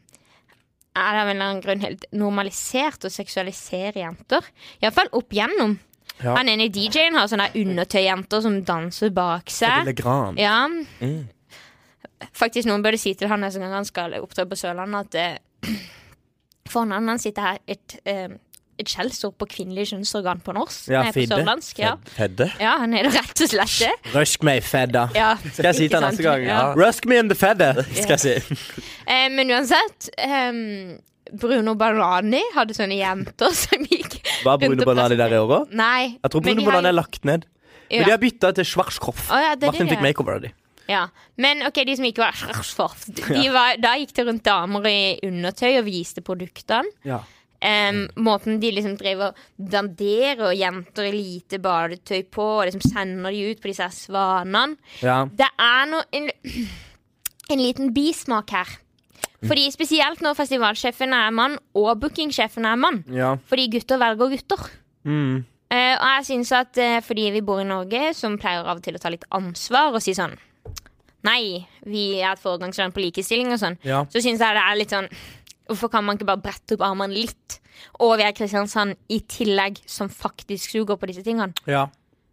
[SPEAKER 1] Er det av en eller annen grunn helt normalisert å seksualisere jenter? Iallfall opp gjennom.
[SPEAKER 2] Ja.
[SPEAKER 1] Han ene DJ-en har sånne undertøyjenter som danser bak seg.
[SPEAKER 2] Telegram.
[SPEAKER 1] Ja.
[SPEAKER 2] Mm.
[SPEAKER 1] Faktisk, noen burde si til han neste gang han skal opptre på Sørlandet, at eh, for navnet hans sitter her et, eh, et skjellsord på kvinnelig kjønnsorgan på norsk.
[SPEAKER 2] Ja,
[SPEAKER 1] Nei, på
[SPEAKER 2] fidde.
[SPEAKER 1] sørlandsk. Ja.
[SPEAKER 3] Hedde.
[SPEAKER 1] ja, han er det rett og slett det.
[SPEAKER 2] [LAUGHS] Rusk meg i fedda.
[SPEAKER 1] Ja,
[SPEAKER 2] Skal jeg si
[SPEAKER 1] ikke
[SPEAKER 2] til
[SPEAKER 1] sant?
[SPEAKER 2] neste gang?
[SPEAKER 1] Ja.
[SPEAKER 2] Rusk me in
[SPEAKER 1] [LAUGHS]
[SPEAKER 2] the feather, skal jeg si.
[SPEAKER 1] Eh, men uansett ehm, Bruno Banani hadde sånne jenter [LAUGHS] som gikk
[SPEAKER 2] Var Bruno
[SPEAKER 1] rundt og
[SPEAKER 2] Banani der i år òg?
[SPEAKER 1] Nei.
[SPEAKER 2] Jeg tror Bruno Banani er lagt ned. Men
[SPEAKER 1] Ja.
[SPEAKER 2] de har bytta til Schwarzkopf.
[SPEAKER 1] Å, ja, det er
[SPEAKER 2] Martin
[SPEAKER 1] det,
[SPEAKER 2] fikk
[SPEAKER 1] ja.
[SPEAKER 2] makeover av de.
[SPEAKER 1] Ja. Men ok, de som ikke var [LAUGHS] Schwarzkopf, de var, Da gikk det rundt damer i undertøy og viste produktene.
[SPEAKER 2] Ja.
[SPEAKER 1] Ehm, måten de liksom driver og danderer og jenter i lite badetøy på, og liksom sender de ut på disse her svanene. Det er noe en, [CLEARS THROAT] en liten bismak her. Fordi Spesielt når festivalsjefen er mann, og bookingsjefen er mann.
[SPEAKER 2] Ja.
[SPEAKER 1] Fordi gutter velger gutter. Eh, og jeg synes at eh, fordi vi bor i Norge, som pleier av og til å ta litt ansvar og si sånn Nei, vi er et foregangsland på likestilling og sånn.
[SPEAKER 2] Ja.
[SPEAKER 1] Så synes jeg det er litt sånn Hvorfor kan man ikke bare brette opp armene litt? Og vi er Kristiansand i tillegg, som faktisk suger på disse tingene.
[SPEAKER 2] Ja.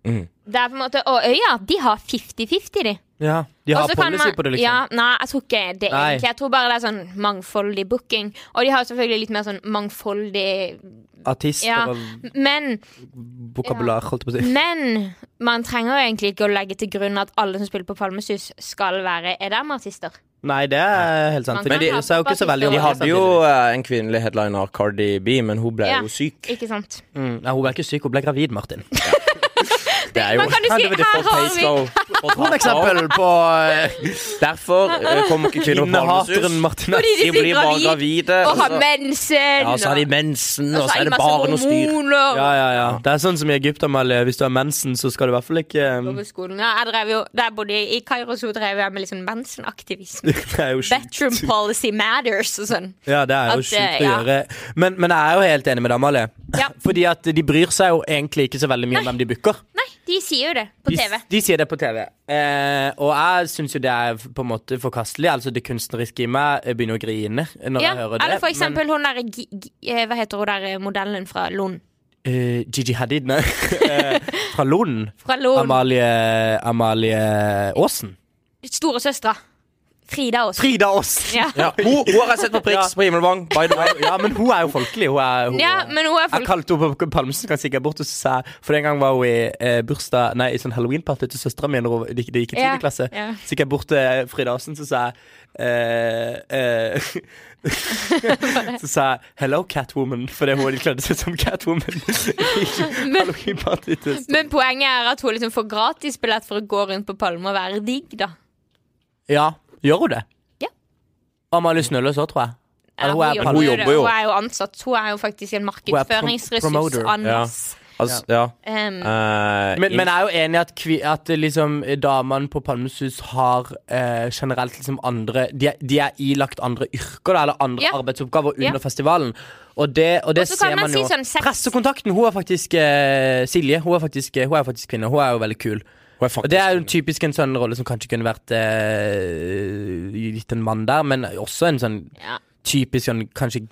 [SPEAKER 1] Det er på en måte, Og øya, de har 50-50, de.
[SPEAKER 2] ja. De har
[SPEAKER 1] Og så kan
[SPEAKER 2] policy
[SPEAKER 1] man-
[SPEAKER 2] på det, liksom.
[SPEAKER 1] Ja, nei, jeg tror ikke det
[SPEAKER 2] Nei.
[SPEAKER 1] egentlig. Jeg tror bare det er sånn mangfoldig booking. Og de har jo selvfølgelig litt mer sånn mangfoldig
[SPEAKER 2] Artister
[SPEAKER 1] Ja.
[SPEAKER 2] og
[SPEAKER 1] Men,
[SPEAKER 2] vokabular, holdt jeg på å si.
[SPEAKER 1] men man trenger jo egentlig ikke å legge til grunn at alle som spiller på Palmesus, skal være EDM-artister.
[SPEAKER 2] Nei, det er helt sant.
[SPEAKER 1] Man
[SPEAKER 2] For
[SPEAKER 1] kan
[SPEAKER 2] de
[SPEAKER 1] ha
[SPEAKER 2] bryr seg jo ikke så veldig om
[SPEAKER 1] Ja,
[SPEAKER 3] De
[SPEAKER 2] det
[SPEAKER 3] hadde jo
[SPEAKER 2] samtidig.
[SPEAKER 3] eh, en kvinnelig headliner, Cardi B, men hun ble
[SPEAKER 1] Ja.
[SPEAKER 3] jo syk.
[SPEAKER 1] Ikke sant?
[SPEAKER 2] mm, Nei, hun ble ikke syk, hun ble gravid, Martin.
[SPEAKER 3] Det er jo
[SPEAKER 1] Man kan jo si
[SPEAKER 2] Helvete,
[SPEAKER 1] her
[SPEAKER 3] for
[SPEAKER 1] har vi
[SPEAKER 3] peislow. For
[SPEAKER 2] For
[SPEAKER 3] tapper.
[SPEAKER 2] eksempel på eh, [LAUGHS]
[SPEAKER 3] Derfor eh, kommer ikke kvinner på
[SPEAKER 2] Innehateren
[SPEAKER 3] Palmesus.
[SPEAKER 2] Martin
[SPEAKER 1] Fordi
[SPEAKER 3] De
[SPEAKER 1] de
[SPEAKER 3] blir
[SPEAKER 1] blir
[SPEAKER 3] bare
[SPEAKER 1] gravid
[SPEAKER 3] gravide.
[SPEAKER 1] og har
[SPEAKER 3] så-
[SPEAKER 1] mensen.
[SPEAKER 3] altså- ja, så har de
[SPEAKER 1] og-
[SPEAKER 3] mensen,
[SPEAKER 1] og
[SPEAKER 3] og så
[SPEAKER 1] har
[SPEAKER 3] er
[SPEAKER 1] de
[SPEAKER 3] det
[SPEAKER 1] masse
[SPEAKER 3] bare noe styr.
[SPEAKER 1] hormoner.
[SPEAKER 2] Ja, ja, ja. Det er sånn som i Egypt, Amalie. Hvis du har mensen, så skal du i hvert fall ikke eh,
[SPEAKER 1] Gå på skolen. Ja, jeg drev jo, da jeg bodde i Kairo, så drev jeg med litt sånn
[SPEAKER 2] [LAUGHS]
[SPEAKER 1] mensenaktivisme.
[SPEAKER 2] Det er jo sjukt.
[SPEAKER 1] Bedroom policy matters og sånn.
[SPEAKER 2] Ja, det er jo
[SPEAKER 1] At,
[SPEAKER 2] sjukt
[SPEAKER 1] eh,
[SPEAKER 2] å
[SPEAKER 1] ja.
[SPEAKER 2] gjøre. Men, men jeg er jo helt enig med deg, Amalie.
[SPEAKER 1] Ja.
[SPEAKER 2] [LAUGHS] Fordi at de bryr seg jo egentlig ikke så veldig mye om hvem de booker.
[SPEAKER 1] Nei, de sier jo det på
[SPEAKER 2] De,
[SPEAKER 1] TV.
[SPEAKER 2] de sier det på TV. Eh, og jeg syns jo det er på en måte forkastelig. Altså Det kunstneriske i meg eh, begynner å grine når
[SPEAKER 1] Ja,
[SPEAKER 2] jeg hører det.
[SPEAKER 1] eller for eksempel hun derre Gi- Gi- eh, Hva heter hun der modellen fra Lund?
[SPEAKER 2] Men eh, Gigi Hadid, nei. [LAUGHS] Eh, Fra Lund.
[SPEAKER 1] Fra Lund.
[SPEAKER 2] Amalie Amalie Aasen.
[SPEAKER 1] Storesøstera. Frida Aas.
[SPEAKER 2] Frida Aasen!
[SPEAKER 1] Ja.
[SPEAKER 3] Ja, hun, hun har jeg sett på Prix på Himmelvang, by
[SPEAKER 1] [LAUGHS]
[SPEAKER 3] the way.
[SPEAKER 2] Ja, men hun er jo folkelig. Hun er, hun,
[SPEAKER 1] Ja, men hun er
[SPEAKER 2] Jeg
[SPEAKER 1] folk...
[SPEAKER 2] kalte henne på Palmesen kan sikkert bort og så sa jeg- For den gang var hun i eh, bursdag Nei, i sånn Halloween-party til søstera mi da hun- det gikk det gikk i
[SPEAKER 1] Ja,
[SPEAKER 2] tiende klasse.
[SPEAKER 1] ja.
[SPEAKER 2] Så gikk jeg bort til Frida Aasen, så sa jeg
[SPEAKER 1] [LAUGHS]
[SPEAKER 2] eh, [LAUGHS] eh, Så sa jeg 'Hello, Catwoman', fordi hun hadde kledd seg som Catwoman. I
[SPEAKER 1] [LAUGHS] Men-
[SPEAKER 2] Halloween-party til søstera.
[SPEAKER 1] Men poenget er at hun liksom får gratisbillett for å gå rundt på Palme og være digg, da.
[SPEAKER 2] Ja, gjør hun det?
[SPEAKER 1] Ja.
[SPEAKER 2] Amalie Snølløs òg, tror jeg. Eller hun er
[SPEAKER 1] gjør
[SPEAKER 2] Palme-
[SPEAKER 1] jo det.
[SPEAKER 3] jobber jo.
[SPEAKER 1] Hun er jo ansatt. Hun er jo faktisk en markedsføringsressurs.
[SPEAKER 2] promoter.
[SPEAKER 1] Anders.
[SPEAKER 3] Altså, ja.
[SPEAKER 1] Em,
[SPEAKER 3] Eh,
[SPEAKER 2] Men, men jeg er jo enig i at, kvi, at eh, liksom, eh, damene på Palmesus har eh, generelt liksom andre de, er- de er ilagt andre yrker da, eller andre
[SPEAKER 1] Ja.
[SPEAKER 2] arbeidsoppgaver under
[SPEAKER 1] Ja.
[SPEAKER 2] festivalen. Og det, og det
[SPEAKER 1] Og så kan
[SPEAKER 2] ser
[SPEAKER 1] man
[SPEAKER 2] man
[SPEAKER 1] si
[SPEAKER 2] jo.
[SPEAKER 1] sånn sex-
[SPEAKER 2] Pressekontakten, hun er faktisk eh, Silje. Hun er faktisk, hun er faktisk kvinne. Hun er jo veldig kul.
[SPEAKER 3] hun er faktisk
[SPEAKER 2] Og det er jo typisk en sånn rolle som kanskje kunne vært eh, gitt en mann der, men også en sånn
[SPEAKER 1] ja.
[SPEAKER 2] typisk sånn kanskje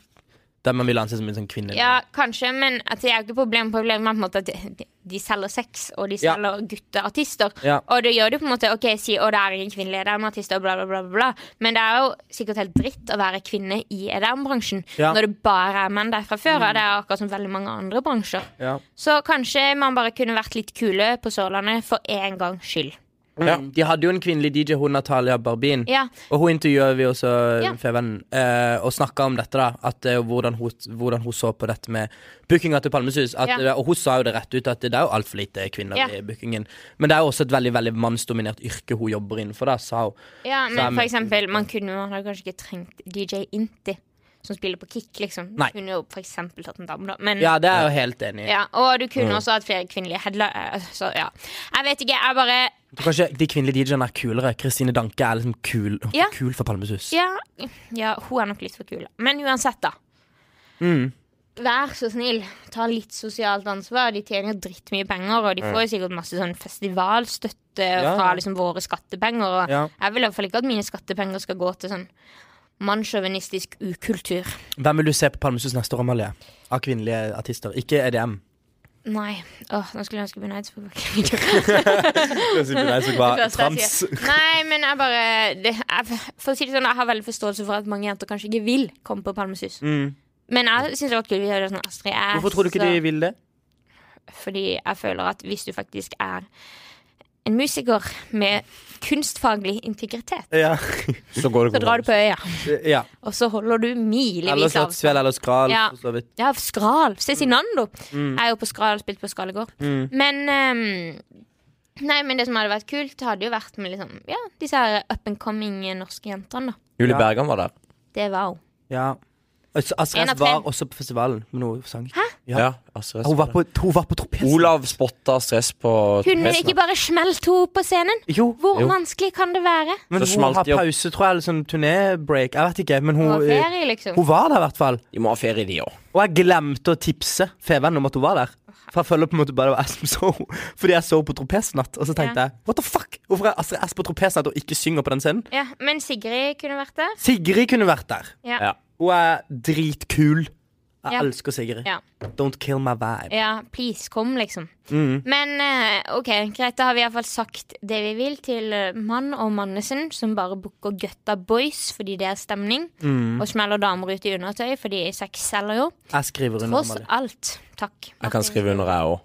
[SPEAKER 2] der man vil anse som en sånn kvinne.
[SPEAKER 1] ja, kanskje, men at det er jo ikke problem. Problemet er på en måte at de, de selger sex, og de
[SPEAKER 2] Ja.
[SPEAKER 1] selger gutteartister.
[SPEAKER 2] Ja.
[SPEAKER 1] Og det gjør det på en måte OK, si å, det er ingen kvinnelige EDM-artister, bla, bla, bla, bla, bla. Men det er jo sikkert helt dritt å være kvinne i EDM-bransjen
[SPEAKER 2] Ja. Mm.
[SPEAKER 1] når det bare er menn der fra før, og det er akkurat som veldig mange andre bransjer.
[SPEAKER 2] Ja.
[SPEAKER 1] Så kanskje man bare kunne vært litt kule på Sørlandet for en gangs skyld.
[SPEAKER 3] Ja.
[SPEAKER 2] Mm. De hadde jo en kvinnelig DJ, hun Natalia Barbin.
[SPEAKER 1] Ja.
[SPEAKER 2] Og hun intervjuet vi også,
[SPEAKER 1] Ja.
[SPEAKER 2] Fevennen, eh, og snakka om dette. da at eh, hvordan, hun, hvordan hun så på dette med bookinga til Palmesus. At,
[SPEAKER 1] Ja.
[SPEAKER 2] Og hun sa jo det rett ut, at det er jo altfor lite kvinner
[SPEAKER 1] Ja.
[SPEAKER 2] i bookingen. Men det er jo også et veldig veldig mannsdominert yrke hun jobber innenfor, da, sa hun.
[SPEAKER 1] Ja,
[SPEAKER 2] Så er
[SPEAKER 1] men for
[SPEAKER 2] vi-
[SPEAKER 1] eksempel, man kunne jo man hadde kanskje ikke trengt DJ Inti, som spiller på kick, liksom. Du
[SPEAKER 2] Nei.
[SPEAKER 1] kunne jo for eksempel tatt en dame, da. Men, ja.
[SPEAKER 2] Ja, det er jeg jo helt enig i.
[SPEAKER 1] og du kunne også hatt flere kvinnelige headler. eh, Så ja. Jeg vet ikke, jeg bare
[SPEAKER 2] Kanskje de kvinnelige DJ-ene er kulere. Kristine Danke er liksom kul,
[SPEAKER 1] Ja.
[SPEAKER 2] kul for Palmesus.
[SPEAKER 1] ja, ja, hun er nok litt for kul. Men uansett, da.
[SPEAKER 2] Mm.
[SPEAKER 1] Vær så snill, ta litt sosialt ansvar. De tjener drittmye penger, og de får jo sikkert masse sånn festivalstøtte
[SPEAKER 2] ja.
[SPEAKER 1] fra liksom våre skattepenger. Og
[SPEAKER 2] Ja.
[SPEAKER 1] jeg vil i hvert fall ikke at mine skattepenger skal gå til sånn mannssjåvinistisk ukultur.
[SPEAKER 2] Hvem vil du se på Palmesus neste år, Amalie? Av kvinnelige artister. Ikke E EDM.
[SPEAKER 1] Nei. Åh, nå skulle jeg ønske Benaids [LAUGHS] Nei, men jeg bare det, jeg, For å si det sånn, jeg har veldig forståelse for at mange jenter kanskje ikke vil komme på Palmesus.
[SPEAKER 2] Mm.
[SPEAKER 1] Men jeg syns det var kult. Vi gjør det sånn Astrid S.
[SPEAKER 2] Hvorfor tror du ikke de vil det?
[SPEAKER 1] Fordi jeg føler at hvis du faktisk er en musiker med kunstfaglig integritet, [LAUGHS]
[SPEAKER 2] Ja.
[SPEAKER 3] Så går
[SPEAKER 1] så
[SPEAKER 3] det
[SPEAKER 1] drar du på øya,
[SPEAKER 2] ja.
[SPEAKER 1] og så holder du milevis
[SPEAKER 2] Eller
[SPEAKER 1] av
[SPEAKER 2] Slottsfjell eller Skral,
[SPEAKER 1] Ja.
[SPEAKER 2] for så vidt.
[SPEAKER 1] Ja, Skral. Cezinando.
[SPEAKER 2] Mm.
[SPEAKER 1] Jeg er jo på Skral, spilt på Skral i går. Men ehm, Nei, men det som hadde vært kult, hadde jo vært med liksom, ja, disse her up and coming norske jentene. da.
[SPEAKER 3] Julie
[SPEAKER 2] Ja.
[SPEAKER 3] Bergan var der.
[SPEAKER 1] Det var hun.
[SPEAKER 2] Ja. Altså,
[SPEAKER 1] En av
[SPEAKER 2] Astrid
[SPEAKER 1] tre.
[SPEAKER 2] var også på festivalen, men hun sang ikke. Ja.
[SPEAKER 3] Ja, altså,
[SPEAKER 2] Hun var på, hun var på tropesen.
[SPEAKER 3] Olav spotta stress på
[SPEAKER 1] Kunne
[SPEAKER 3] tropesen.
[SPEAKER 1] det ikke bare smelt henne på scenen?
[SPEAKER 2] Jo,
[SPEAKER 1] Hvor
[SPEAKER 3] Jo.
[SPEAKER 1] vanskelig kan det være?
[SPEAKER 2] men
[SPEAKER 3] Så
[SPEAKER 2] hun
[SPEAKER 3] smalt
[SPEAKER 2] har
[SPEAKER 3] de opp.
[SPEAKER 2] pause, tror jeg, eller sånn turnébreak. Jeg vet ikke, men hun,
[SPEAKER 1] På
[SPEAKER 2] eh,
[SPEAKER 1] ferie, liksom.
[SPEAKER 2] hun var der i hvert fall.
[SPEAKER 3] De må ha ferie, de òg.
[SPEAKER 2] Og jeg glemte å tipse Feven om at hun var der. For jeg føler på en måte bare det var jeg som så henne. Fordi jeg så henne på tropesnatt, og så tenkte
[SPEAKER 1] Ja.
[SPEAKER 2] jeg what the fuck? Hvorfor er Astrid S på tropesnatt og ikke synger på den scenen?
[SPEAKER 1] Ja, Men Sigrid kunne vært der.
[SPEAKER 2] Sigrid kunne vært der.
[SPEAKER 1] Ja.
[SPEAKER 3] Ja.
[SPEAKER 2] Hun er dritkul. Jeg
[SPEAKER 1] Ja.
[SPEAKER 2] elsker Sigrid.
[SPEAKER 1] Ja.
[SPEAKER 2] Don't kill my vibe.
[SPEAKER 1] Ja, please, kom, liksom.
[SPEAKER 2] Mm.
[SPEAKER 1] Men eh, OK, greit, da har vi iallfall sagt det vi vil til eh, Mann og Mannesen, som bare booker gutta boys fordi det er stemning,
[SPEAKER 2] Mm.
[SPEAKER 1] og smeller damer ut i undertøy fordi sex selger jo.
[SPEAKER 2] Jeg skriver under
[SPEAKER 1] Tross
[SPEAKER 2] Amalie.
[SPEAKER 1] alt. Takk.
[SPEAKER 3] Jeg kan skrive under, jeg òg.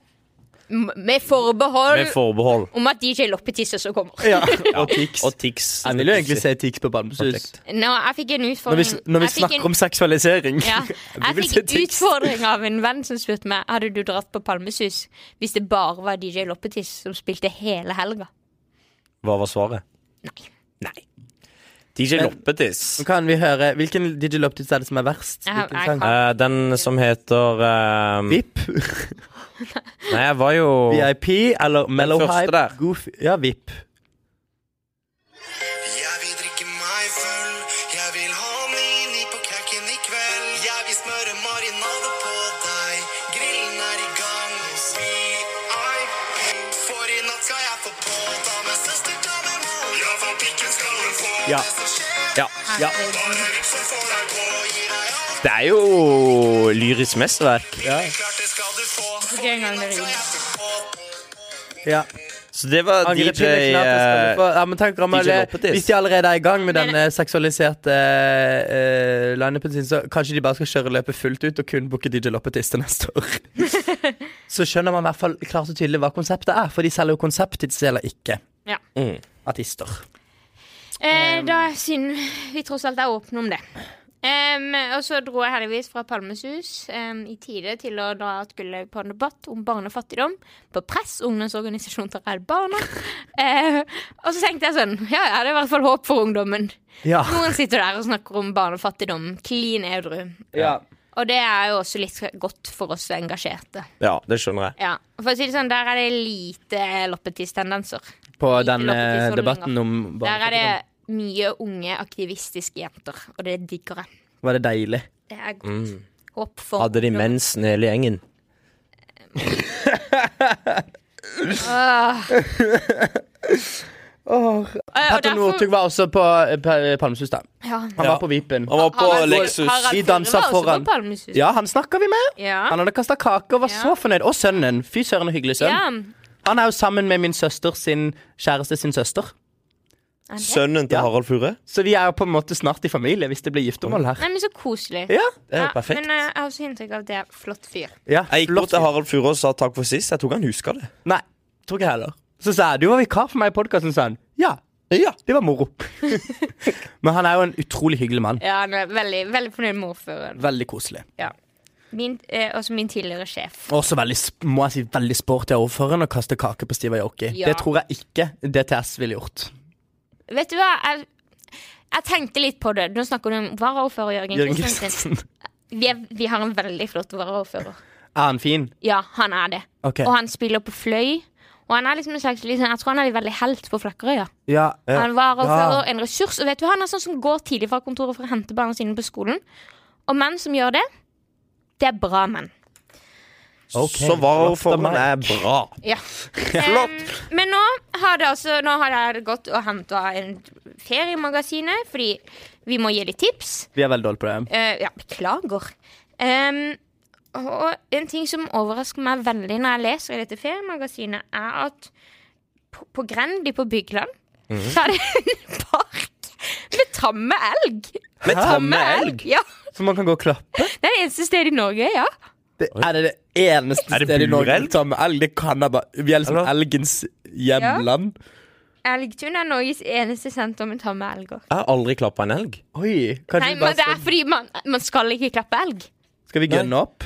[SPEAKER 1] M- Med forbehold
[SPEAKER 3] Med forbehold.
[SPEAKER 1] om at DJ Loppetisser også kommer. [LAUGHS]
[SPEAKER 2] Og Tix.
[SPEAKER 3] Og Tix.
[SPEAKER 2] Jeg vil jo egentlig se Tix på Bamsus.
[SPEAKER 1] Nå, jeg fikk en
[SPEAKER 2] Når
[SPEAKER 1] utfordring
[SPEAKER 2] vi, når vi
[SPEAKER 1] Jeg fikk en-
[SPEAKER 2] snakker om seksualisering.
[SPEAKER 1] [LAUGHS]
[SPEAKER 2] [LAUGHS]
[SPEAKER 1] ja,
[SPEAKER 2] vil
[SPEAKER 1] Jeg
[SPEAKER 2] se
[SPEAKER 1] fikk en
[SPEAKER 2] tics.
[SPEAKER 1] utfordring av en venn som spurte meg Hadde du dratt på Palmesus hvis det bare var DJ Loppetiss som spilte hele helga.
[SPEAKER 3] Hva var svaret? Nei. DJ Loppetiss.
[SPEAKER 2] Nå kan vi høre Hvilken digiloptis er det som er verst?
[SPEAKER 1] Jeg har-
[SPEAKER 2] Hvilken
[SPEAKER 1] jeg
[SPEAKER 2] sang?
[SPEAKER 1] kan-
[SPEAKER 3] Eh, den som heter eh,
[SPEAKER 2] VIP, [LAUGHS]
[SPEAKER 3] Nei, jeg var jo
[SPEAKER 2] VIP eller Mellow
[SPEAKER 3] første
[SPEAKER 2] Hype?
[SPEAKER 3] der.
[SPEAKER 2] Goofy. Ja, VIP.
[SPEAKER 4] Jeg vil drikke meg full. Jeg vil ha mini på knekken i kveld. Jeg vil smøre marinade på deg. Grillen er i gang. VIP. For i natt skal jeg få på. Ta med søster, ta med mor. Ja, for pikken skal hun få.
[SPEAKER 3] Ja.
[SPEAKER 4] Det som skjer,
[SPEAKER 3] Ja.
[SPEAKER 1] Ja.
[SPEAKER 4] bare liksom får deg på. Gir deg alt.
[SPEAKER 3] Det er jo lyrisk mesterverk.
[SPEAKER 4] Klart det skal du få.
[SPEAKER 1] Ok, en gang med rim.
[SPEAKER 4] Jeg får på.
[SPEAKER 2] Ja.
[SPEAKER 3] Så det var
[SPEAKER 2] Angre
[SPEAKER 3] DJ
[SPEAKER 2] piller, knapper, skal du
[SPEAKER 3] eh,
[SPEAKER 2] få- ja, men tenk, Amalie,
[SPEAKER 3] Loppetis.
[SPEAKER 2] Hvis de allerede er i gang med
[SPEAKER 1] Men-
[SPEAKER 2] denne seksualiserte uh, lineupen sin, så kanskje de bare skal kjøre løpet fullt ut og kun booke DJ Loppetis til neste
[SPEAKER 1] [LAUGHS]
[SPEAKER 2] år. så skjønner man i hvert fall klart og tydelig hva konseptet er, for de selger jo konseptet, de selger ikke
[SPEAKER 1] Ja.
[SPEAKER 3] mm.
[SPEAKER 2] artister.
[SPEAKER 1] Eh, da, siden vi tross alt er åpne om det. Em, og så dro jeg heldigvis fra Palmesus em, i tide til å dra skulle på en debatt om barnefattigdom på Press, ungdomsorganisasjon til Redd Barna. Eh, og så tenkte jeg sånn Ja, ja, det er i hvert fall håp for ungdommen.
[SPEAKER 2] Ja.
[SPEAKER 1] Noen sitter der og snakker om barnefattigdom klin edru. Og det er jo også litt godt for oss engasjerte.
[SPEAKER 3] Ja, det skjønner jeg.
[SPEAKER 1] Ja. For å si det sånn, der er det lite loppetiss-tendenser.
[SPEAKER 2] På
[SPEAKER 1] Ikke
[SPEAKER 2] den eh,
[SPEAKER 1] Loppetis-holdninger.
[SPEAKER 2] debatten om
[SPEAKER 1] Der er
[SPEAKER 2] barnefattigdom.
[SPEAKER 1] det mye unge, aktivistiske jenter, og det digger jeg.
[SPEAKER 2] Var det deilig?
[SPEAKER 1] Det er godt.
[SPEAKER 2] Mm.
[SPEAKER 1] Håp for
[SPEAKER 3] Hadde de mensen hele gjengen?
[SPEAKER 2] [LAUGHS]
[SPEAKER 1] Eh, og
[SPEAKER 2] Petter
[SPEAKER 1] derfor-
[SPEAKER 2] Northug var også på eh, pa- Palmesus, da.
[SPEAKER 1] Ja.
[SPEAKER 2] Han
[SPEAKER 3] Ja.
[SPEAKER 2] var på Vipen.
[SPEAKER 3] Han var på
[SPEAKER 1] Harald-
[SPEAKER 3] Lexus.
[SPEAKER 1] Harald
[SPEAKER 2] Vi
[SPEAKER 1] Furre
[SPEAKER 2] dansa
[SPEAKER 1] var også
[SPEAKER 2] foran.
[SPEAKER 1] på Palmesus.
[SPEAKER 2] Ja, han snakka vi med.
[SPEAKER 1] Ja.
[SPEAKER 2] Han hadde kasta kake og var
[SPEAKER 1] Ja.
[SPEAKER 2] så fornøyd. Og sønnen. Fy søren, en hyggelig sønn.
[SPEAKER 1] Ja.
[SPEAKER 2] Han er jo sammen med min søster sin kjæreste sin søster.
[SPEAKER 1] Er det?
[SPEAKER 3] Sønnen til
[SPEAKER 2] Ja.
[SPEAKER 3] Harald Furre?
[SPEAKER 2] Så vi er jo på en måte snart i familie hvis det blir giftermål her.
[SPEAKER 1] Nei, men så koselig.
[SPEAKER 2] Ja,
[SPEAKER 3] Det er jo
[SPEAKER 1] Ja,
[SPEAKER 3] perfekt.
[SPEAKER 1] Men eh, jeg har også inntrykk av at det er flott fyr.
[SPEAKER 2] ja.
[SPEAKER 3] Jeg gikk
[SPEAKER 2] flott.
[SPEAKER 3] bort til Harald Furre og sa takk for sist. Jeg tror ikke han husker det.
[SPEAKER 2] Nei, tror ikke jeg heller. Så sa jeg du var vikar for meg i podkasten, sa han. Ja. ja. Det var [LAUGHS] moro. Men han er jo en utrolig hyggelig mann.
[SPEAKER 1] Ja, han er veldig, veldig fornøyd med ordføreren.
[SPEAKER 2] Veldig koselig.
[SPEAKER 1] Ja. Min, eh, også min tidligere sjef.
[SPEAKER 2] Også veldig, sp- må jeg si, veldig sporty av ordføreren å kaste kake på Steve Aoki.
[SPEAKER 1] Ja.
[SPEAKER 2] Det tror jeg ikke DTS ville gjort.
[SPEAKER 1] Vet du hva? Jeg, jeg tenkte litt på det. Nå snakker du om varaordfører Jørgen
[SPEAKER 2] Jørgen
[SPEAKER 1] Kristiansen.
[SPEAKER 2] Kristiansen.
[SPEAKER 1] Vi, er- vi har en veldig flott varaordfører.
[SPEAKER 2] Er han fin?
[SPEAKER 1] Ja, han er det.
[SPEAKER 2] Ok.
[SPEAKER 1] Og han spiller på fløy. Og han er liksom en slags liksom, Jeg tror han er en veldig helt på Flakkerøya.
[SPEAKER 2] Ja.
[SPEAKER 1] Han var overfører, en ressurs. Og vet du, hva? han er sånn som går tidlig fra kontoret for å hente barna sine på skolen. Og menn som gjør det, det er bra menn.
[SPEAKER 2] Ok.
[SPEAKER 3] Så var
[SPEAKER 2] Flott av
[SPEAKER 3] formen
[SPEAKER 2] meg.
[SPEAKER 3] er bra.
[SPEAKER 1] Ja. Em, men nå har det altså Nå har jeg gått og henta en feriemagasinet, fordi vi må gi litt tips.
[SPEAKER 2] Vi er veldig dårlige på det.
[SPEAKER 1] Eh, ja, beklager. Em, og en ting som overrasker meg veldig når jeg leser i dette feriemagasinet, er at på, på Grendi på Bygland så er det en park med tamme elg.
[SPEAKER 3] Med
[SPEAKER 1] Tamme
[SPEAKER 3] tamme elg?
[SPEAKER 1] elg? Ja.
[SPEAKER 2] Så man kan gå og klappe?
[SPEAKER 1] Det er det eneste stedet i Norge, ja.
[SPEAKER 2] Det, er det det eneste
[SPEAKER 3] Er det
[SPEAKER 2] stedet i Norge
[SPEAKER 3] burelg?
[SPEAKER 2] som tar med elg? Det kan jeg bare Vi er liksom
[SPEAKER 3] Eller?
[SPEAKER 2] elgens hjemland.
[SPEAKER 1] Elgtun er Norges eneste senter med tamme elger.
[SPEAKER 3] Jeg har aldri klappa en elg.
[SPEAKER 2] Oi. Kanskje
[SPEAKER 1] Nei,
[SPEAKER 2] vi
[SPEAKER 1] men
[SPEAKER 2] bare
[SPEAKER 1] det er
[SPEAKER 2] skal,
[SPEAKER 1] fordi man, man skal ikke klappe elg.
[SPEAKER 2] skal vi gønne opp?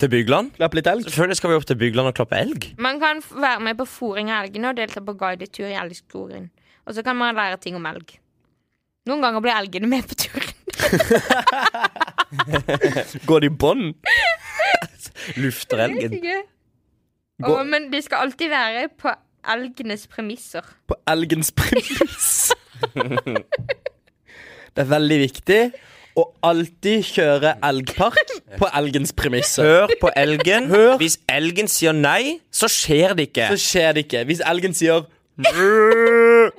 [SPEAKER 3] Til Bygland?
[SPEAKER 2] Klappe litt elg?
[SPEAKER 3] Selvfølgelig skal vi opp til Bygland og klappe elg.
[SPEAKER 1] Man kan f- være med på fôring av elgene og delta på guidetur i elgskogen. Og så kan man lære ting om elg. Noen ganger blir elgene med på turen.
[SPEAKER 2] Går det i bånd?
[SPEAKER 3] Lufter elgen.
[SPEAKER 1] Og, men det skal alltid være på elgenes premisser.
[SPEAKER 2] På elgens [LAUGHS] premiss. det er veldig viktig å alltid kjøre elgpark på elgens premisser.
[SPEAKER 3] Hør på elgen. Hvis elgen sier nei, så skjer det ikke.
[SPEAKER 2] Så skjer det ikke. Hvis elgen sier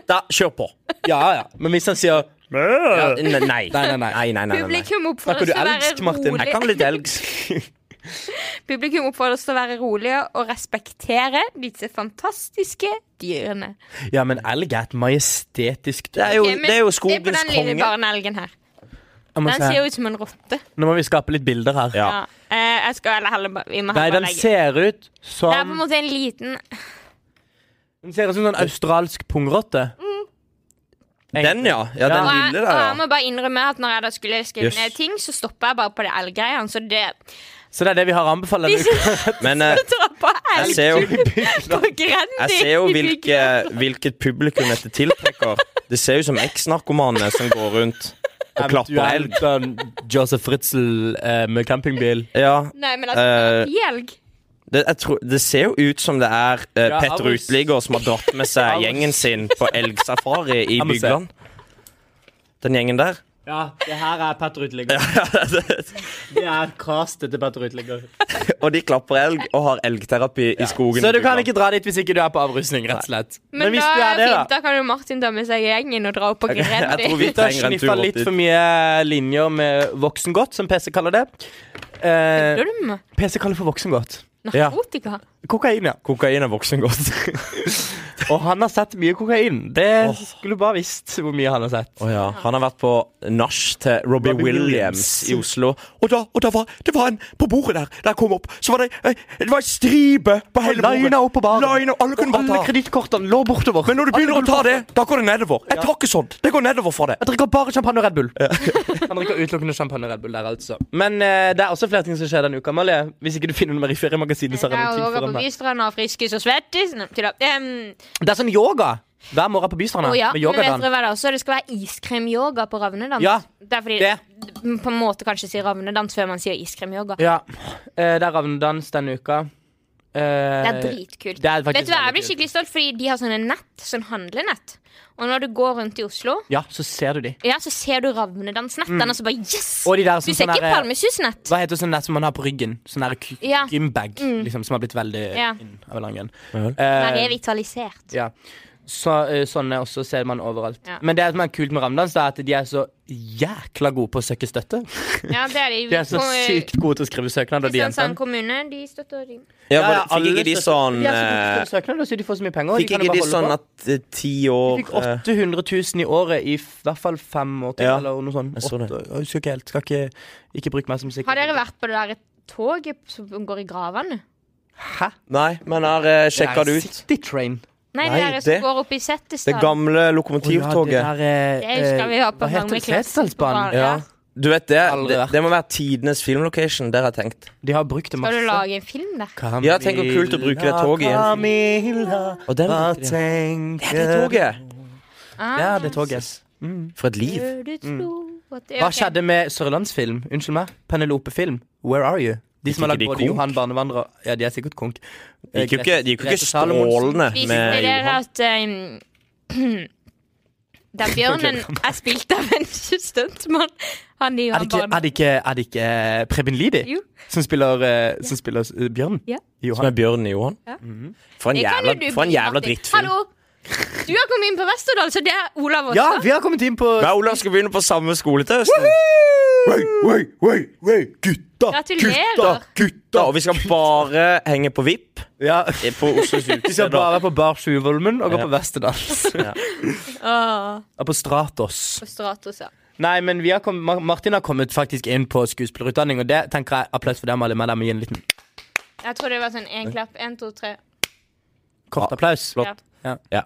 [SPEAKER 3] Da, kjør på.
[SPEAKER 2] ja, ja, men hvis han sier
[SPEAKER 3] Ja, ne- nei. Nei, nei, nei, nei, nei, nei.
[SPEAKER 1] Publikum oppfordres til å
[SPEAKER 2] elgsk,
[SPEAKER 1] være
[SPEAKER 2] Martin?
[SPEAKER 1] rolig.
[SPEAKER 3] Jeg kan litt elgsk.
[SPEAKER 1] Publikum oppfordres til å være rolige og respektere disse fantastiske dyrene.
[SPEAKER 2] Ja, men elg er et majestetisk
[SPEAKER 3] Det er jo,
[SPEAKER 1] Ok, men
[SPEAKER 3] det er
[SPEAKER 1] det er
[SPEAKER 3] jo
[SPEAKER 1] på
[SPEAKER 3] skogens
[SPEAKER 1] den lille
[SPEAKER 3] konge.
[SPEAKER 1] barneelgen her.
[SPEAKER 2] Jeg må
[SPEAKER 1] Den
[SPEAKER 2] se.
[SPEAKER 1] ser jo ut som en rotte.
[SPEAKER 2] Nå må vi skape litt bilder her.
[SPEAKER 3] Ja.
[SPEAKER 1] Ja. Eh, jeg skal eller heller bare Vi må
[SPEAKER 2] Nei,
[SPEAKER 1] heller
[SPEAKER 2] den
[SPEAKER 1] bare legge
[SPEAKER 2] ser ut
[SPEAKER 1] Det er på en
[SPEAKER 2] som
[SPEAKER 1] måte en liten
[SPEAKER 2] Den ser ut som en sånn australsk pungrotte.
[SPEAKER 5] Mm.
[SPEAKER 3] Den, ja. ja
[SPEAKER 2] Ja.
[SPEAKER 1] Og
[SPEAKER 3] den
[SPEAKER 1] jeg,
[SPEAKER 3] lille
[SPEAKER 1] og
[SPEAKER 3] der,
[SPEAKER 1] jeg
[SPEAKER 3] ja.
[SPEAKER 1] må bare innrømme at når jeg da skulle skrive
[SPEAKER 3] Jøss.
[SPEAKER 1] ned ting, så stoppa jeg bare på det elggreiene. Så det
[SPEAKER 2] Så det er det vi har anbefalt.
[SPEAKER 1] De
[SPEAKER 2] denne uka.
[SPEAKER 5] [LAUGHS]
[SPEAKER 1] [LAUGHS]
[SPEAKER 3] Men eh,
[SPEAKER 1] drar på
[SPEAKER 3] jeg ser
[SPEAKER 1] elgtur
[SPEAKER 3] jo
[SPEAKER 1] på Grendi.
[SPEAKER 3] Jeg ser
[SPEAKER 1] [LAUGHS]
[SPEAKER 3] jo
[SPEAKER 1] i
[SPEAKER 3] hvilke,
[SPEAKER 1] bygda.
[SPEAKER 3] hvilket publikum dette tiltrekker. Det ser jo som eks-narkomane som går rundt og klapper
[SPEAKER 2] Eventuelt
[SPEAKER 3] elg.
[SPEAKER 2] Sånn Josef Fritzl eh, med campingbil.
[SPEAKER 3] Ja,
[SPEAKER 1] Nei, men altså,
[SPEAKER 3] Eh,
[SPEAKER 1] uh, elg.
[SPEAKER 3] det, jeg tror, det ser jo ut som det er eh,
[SPEAKER 2] Ja,
[SPEAKER 3] Petter
[SPEAKER 2] August.
[SPEAKER 3] Uteligger som har dratt med
[SPEAKER 2] [LAUGHS]
[SPEAKER 3] seg
[SPEAKER 2] August.
[SPEAKER 3] gjengen sin på elgsafari
[SPEAKER 2] [LAUGHS]
[SPEAKER 3] i
[SPEAKER 2] Jeg må se.
[SPEAKER 3] Bygland. Den gjengen der.
[SPEAKER 5] Ja, det her er Petter Uteligger.
[SPEAKER 2] [LAUGHS]
[SPEAKER 5] Det er castet til Petter Uteligger.
[SPEAKER 3] [LAUGHS] Og de klapper elg og har elgterapi i skogen.
[SPEAKER 2] Så
[SPEAKER 3] i
[SPEAKER 2] du kan
[SPEAKER 3] Bygland.
[SPEAKER 2] ikke dra dit hvis ikke du er på avrusning, rett og slett.
[SPEAKER 1] Men,
[SPEAKER 2] hvis
[SPEAKER 1] da
[SPEAKER 2] du er
[SPEAKER 1] er
[SPEAKER 2] det,
[SPEAKER 1] fint,
[SPEAKER 2] da.
[SPEAKER 1] da kan jo Martin ta med seg gjengen og dra opp på
[SPEAKER 3] Jeg tror vi
[SPEAKER 1] Grendi.
[SPEAKER 2] har
[SPEAKER 3] trenger en tur
[SPEAKER 2] sniffa
[SPEAKER 3] opp
[SPEAKER 2] litt
[SPEAKER 3] dit.
[SPEAKER 2] for mye linjer med voksengodt, som PC kaller det. Eh,
[SPEAKER 1] Ulm?
[SPEAKER 2] PC kaller for voksengodt.
[SPEAKER 1] Narkotika?
[SPEAKER 2] Kokain, ja.
[SPEAKER 3] Kokain er voksengodt.
[SPEAKER 2] [LAUGHS] Og han har sett mye kokain. Det skulle du bare visst hvor mye han har sett.
[SPEAKER 3] Å ja. Han har vært på nach til Robbie,
[SPEAKER 2] Robbie
[SPEAKER 3] Williams.
[SPEAKER 2] Williams.
[SPEAKER 3] i Oslo. Og da, og da var det var en på bordet der da jeg kom opp. Så var det eh, Det var en stripe på hele bordet.
[SPEAKER 2] Lina opp på baren.
[SPEAKER 3] Lina, alle kunne bare
[SPEAKER 2] Alle
[SPEAKER 3] ta.
[SPEAKER 2] kredittkortene lå bortover.
[SPEAKER 3] Men når du begynner å ta det, da går det nedover. Jeg tar ikke sånt. Det går nedover for det.
[SPEAKER 2] Jeg drikker bare champagne og Red Bull. [LAUGHS] Han drikker utelukkende champagne og Red Bull der, altså. Men eh, det er også flere ting som skjer denne uka, Amalie. Hvis ikke du finner noe mer i feriemagasinet, så
[SPEAKER 1] Jeg
[SPEAKER 2] har jeg
[SPEAKER 1] har
[SPEAKER 2] noe tid
[SPEAKER 1] vært
[SPEAKER 2] foran
[SPEAKER 1] på
[SPEAKER 2] meg.
[SPEAKER 1] Bystranda og friskis og svettis. Nei, tulla. Em,
[SPEAKER 2] Det er sånn yoga hver morgen på Bystranda.
[SPEAKER 1] Å ja,
[SPEAKER 2] med
[SPEAKER 1] men vet
[SPEAKER 2] yogadans.
[SPEAKER 1] dere hva det er også? Det skal være iskremyoga på ravnedans.
[SPEAKER 2] Ja,
[SPEAKER 1] det er fordi
[SPEAKER 2] det.
[SPEAKER 1] man på en måte kanskje sier ravnedans før man sier iskremyoga.
[SPEAKER 2] Ja. Eh, det er ravnedans denne uka. Eh,
[SPEAKER 1] Det er dritkult.
[SPEAKER 2] Det er faktisk
[SPEAKER 1] Vet du hva, Jeg
[SPEAKER 2] veldig
[SPEAKER 1] blir skikkelig stolt, fordi de har sånne nett, sånn handlenett. Og når du går rundt i Oslo,
[SPEAKER 2] Ja, så ser du de.
[SPEAKER 1] ja, så ser du ravnedansnettene, og så bare yes!
[SPEAKER 2] Mm. Og de der som
[SPEAKER 1] Du ser
[SPEAKER 2] sånn
[SPEAKER 1] ikke
[SPEAKER 2] her-
[SPEAKER 1] palmesusnett.
[SPEAKER 2] Hva heter sånn nett som man har på ryggen? Sånn der k-
[SPEAKER 1] Ja. Mm.
[SPEAKER 2] gymbag, liksom, som har blitt veldig
[SPEAKER 1] Ja.
[SPEAKER 2] inn av langen. eh,
[SPEAKER 1] Den er revitalisert.
[SPEAKER 2] Ja. Så, eh, sånne også ser man overalt.
[SPEAKER 1] Ja.
[SPEAKER 2] Men det som er kult med ramdans, er at de er så jækla gode på å søke støtte.
[SPEAKER 1] Ja, det er de.
[SPEAKER 2] De er så
[SPEAKER 1] Kom-
[SPEAKER 2] sykt gode til å skrive søknader, de
[SPEAKER 1] Kristiansand
[SPEAKER 2] jentene.
[SPEAKER 1] kommune, de støtter de.
[SPEAKER 3] Ja,
[SPEAKER 2] Ja, ja,
[SPEAKER 3] men Fikk
[SPEAKER 2] alle
[SPEAKER 3] ikke de
[SPEAKER 2] søster-
[SPEAKER 3] sånn
[SPEAKER 2] De er så gode til å
[SPEAKER 3] eh,
[SPEAKER 2] skrive søknader, så de får så mye penger. og
[SPEAKER 3] Fikk
[SPEAKER 2] kan jo
[SPEAKER 3] ikke
[SPEAKER 2] bare
[SPEAKER 3] de
[SPEAKER 2] holde
[SPEAKER 3] sånn
[SPEAKER 2] på.
[SPEAKER 3] at eh, ti
[SPEAKER 2] Fikk
[SPEAKER 3] år eh,
[SPEAKER 2] 800 000 i året i f- hvert fall fem år til,
[SPEAKER 3] Ja,
[SPEAKER 2] eller noe sånt.
[SPEAKER 3] jeg så det.
[SPEAKER 2] Åtte- Jeg husker ikke helt. Skal ikke, ikke bruke meg som sikkerhet.
[SPEAKER 1] Har dere vært på det der toget som går i gravene?
[SPEAKER 2] Hæ?
[SPEAKER 3] Nei, men her sjekka det ut.
[SPEAKER 2] City Train.
[SPEAKER 1] Nei,
[SPEAKER 3] Nei,
[SPEAKER 1] det der som
[SPEAKER 3] det-
[SPEAKER 1] går opp i
[SPEAKER 3] Det
[SPEAKER 1] Settestad.
[SPEAKER 3] gamle
[SPEAKER 2] Å ja,
[SPEAKER 3] lokomotivtoget.
[SPEAKER 2] det der, eh,
[SPEAKER 1] Det husker vi var på
[SPEAKER 2] hva heter
[SPEAKER 1] Magne
[SPEAKER 2] det?
[SPEAKER 1] Clausen på
[SPEAKER 2] Setesdalsbanen?
[SPEAKER 1] Bar- Ja.
[SPEAKER 3] Du vet det,
[SPEAKER 2] Aldri
[SPEAKER 3] det,
[SPEAKER 2] vært.
[SPEAKER 3] det må være tidenes filmlocation, der har jeg tenkt.
[SPEAKER 2] De har brukt det
[SPEAKER 1] Skal du
[SPEAKER 2] masse.
[SPEAKER 1] lage en film der?
[SPEAKER 3] Ja, tenk hvor kult å bruke det toget igjen.
[SPEAKER 2] Camilla,
[SPEAKER 3] Og den,
[SPEAKER 2] hva
[SPEAKER 3] det
[SPEAKER 2] tenker
[SPEAKER 3] er toget!
[SPEAKER 1] Ah,
[SPEAKER 2] Ja, det toget.
[SPEAKER 3] For et liv.
[SPEAKER 1] du tro at det-
[SPEAKER 2] Hva
[SPEAKER 1] ok.
[SPEAKER 2] skjedde med Sørlandsfilm? Unnskyld meg. Penelope-film. Where are you? De som har lagd
[SPEAKER 3] ikke de
[SPEAKER 2] både
[SPEAKER 3] konk?
[SPEAKER 2] Johan Barnevandrer Ja, de er sikkert konk.
[SPEAKER 3] Det gikk jo ikke, det gikk jo ikke strålende
[SPEAKER 1] Visste
[SPEAKER 3] med
[SPEAKER 1] dere
[SPEAKER 3] Johan.
[SPEAKER 1] at [CLEARS THROAT] um, den bjørnen er spilt av en [LAUGHS] stuntmann? Han i
[SPEAKER 2] Er det
[SPEAKER 1] Johan
[SPEAKER 2] ikke, er
[SPEAKER 1] Barne.
[SPEAKER 2] det ikke, er det ikke eh, Preben Lidi
[SPEAKER 1] Jo.
[SPEAKER 2] som spiller, eh, som spiller eh, Bjørn?
[SPEAKER 1] Ja.
[SPEAKER 3] Som
[SPEAKER 2] Johan.
[SPEAKER 3] er Bjørnen i Johan.
[SPEAKER 1] Ja.
[SPEAKER 2] Mm-hmm.
[SPEAKER 3] For en
[SPEAKER 1] Det kan jo
[SPEAKER 3] jævla,
[SPEAKER 1] du
[SPEAKER 3] for en
[SPEAKER 1] bli,
[SPEAKER 3] jævla
[SPEAKER 1] Martin.
[SPEAKER 3] drittfilm.
[SPEAKER 1] Hallo! Du har kommet inn på Vesterdal, så det er Olav også.
[SPEAKER 2] ja, vi har kommet inn på
[SPEAKER 3] Hva, Olav skal begynne på samme skole til høsten. Wei, wei, wei, wei, Gutta,
[SPEAKER 1] Gratulerer.
[SPEAKER 3] gutta! Og vi skal bare henge på VIP
[SPEAKER 2] Ja,
[SPEAKER 3] på
[SPEAKER 2] Vi
[SPEAKER 3] Oslos
[SPEAKER 2] skal
[SPEAKER 3] utested.
[SPEAKER 2] bare på Bar Sjuvholmen og gå
[SPEAKER 3] Ja.
[SPEAKER 2] på
[SPEAKER 3] [LAUGHS]
[SPEAKER 2] Vesterdals.
[SPEAKER 1] Åh,
[SPEAKER 2] Og på Stratos.
[SPEAKER 1] på Stratos, ja.
[SPEAKER 2] Nei, men vi har kommet, Mar- Martin har kommet faktisk inn på skuespillerutdanning, og det tenker jeg applaus for dem alle. Men jeg må gi en liten
[SPEAKER 1] Jeg tror det var sånn én klapp. Én, to, tre.
[SPEAKER 2] kort applaus.
[SPEAKER 1] Ah, Ja.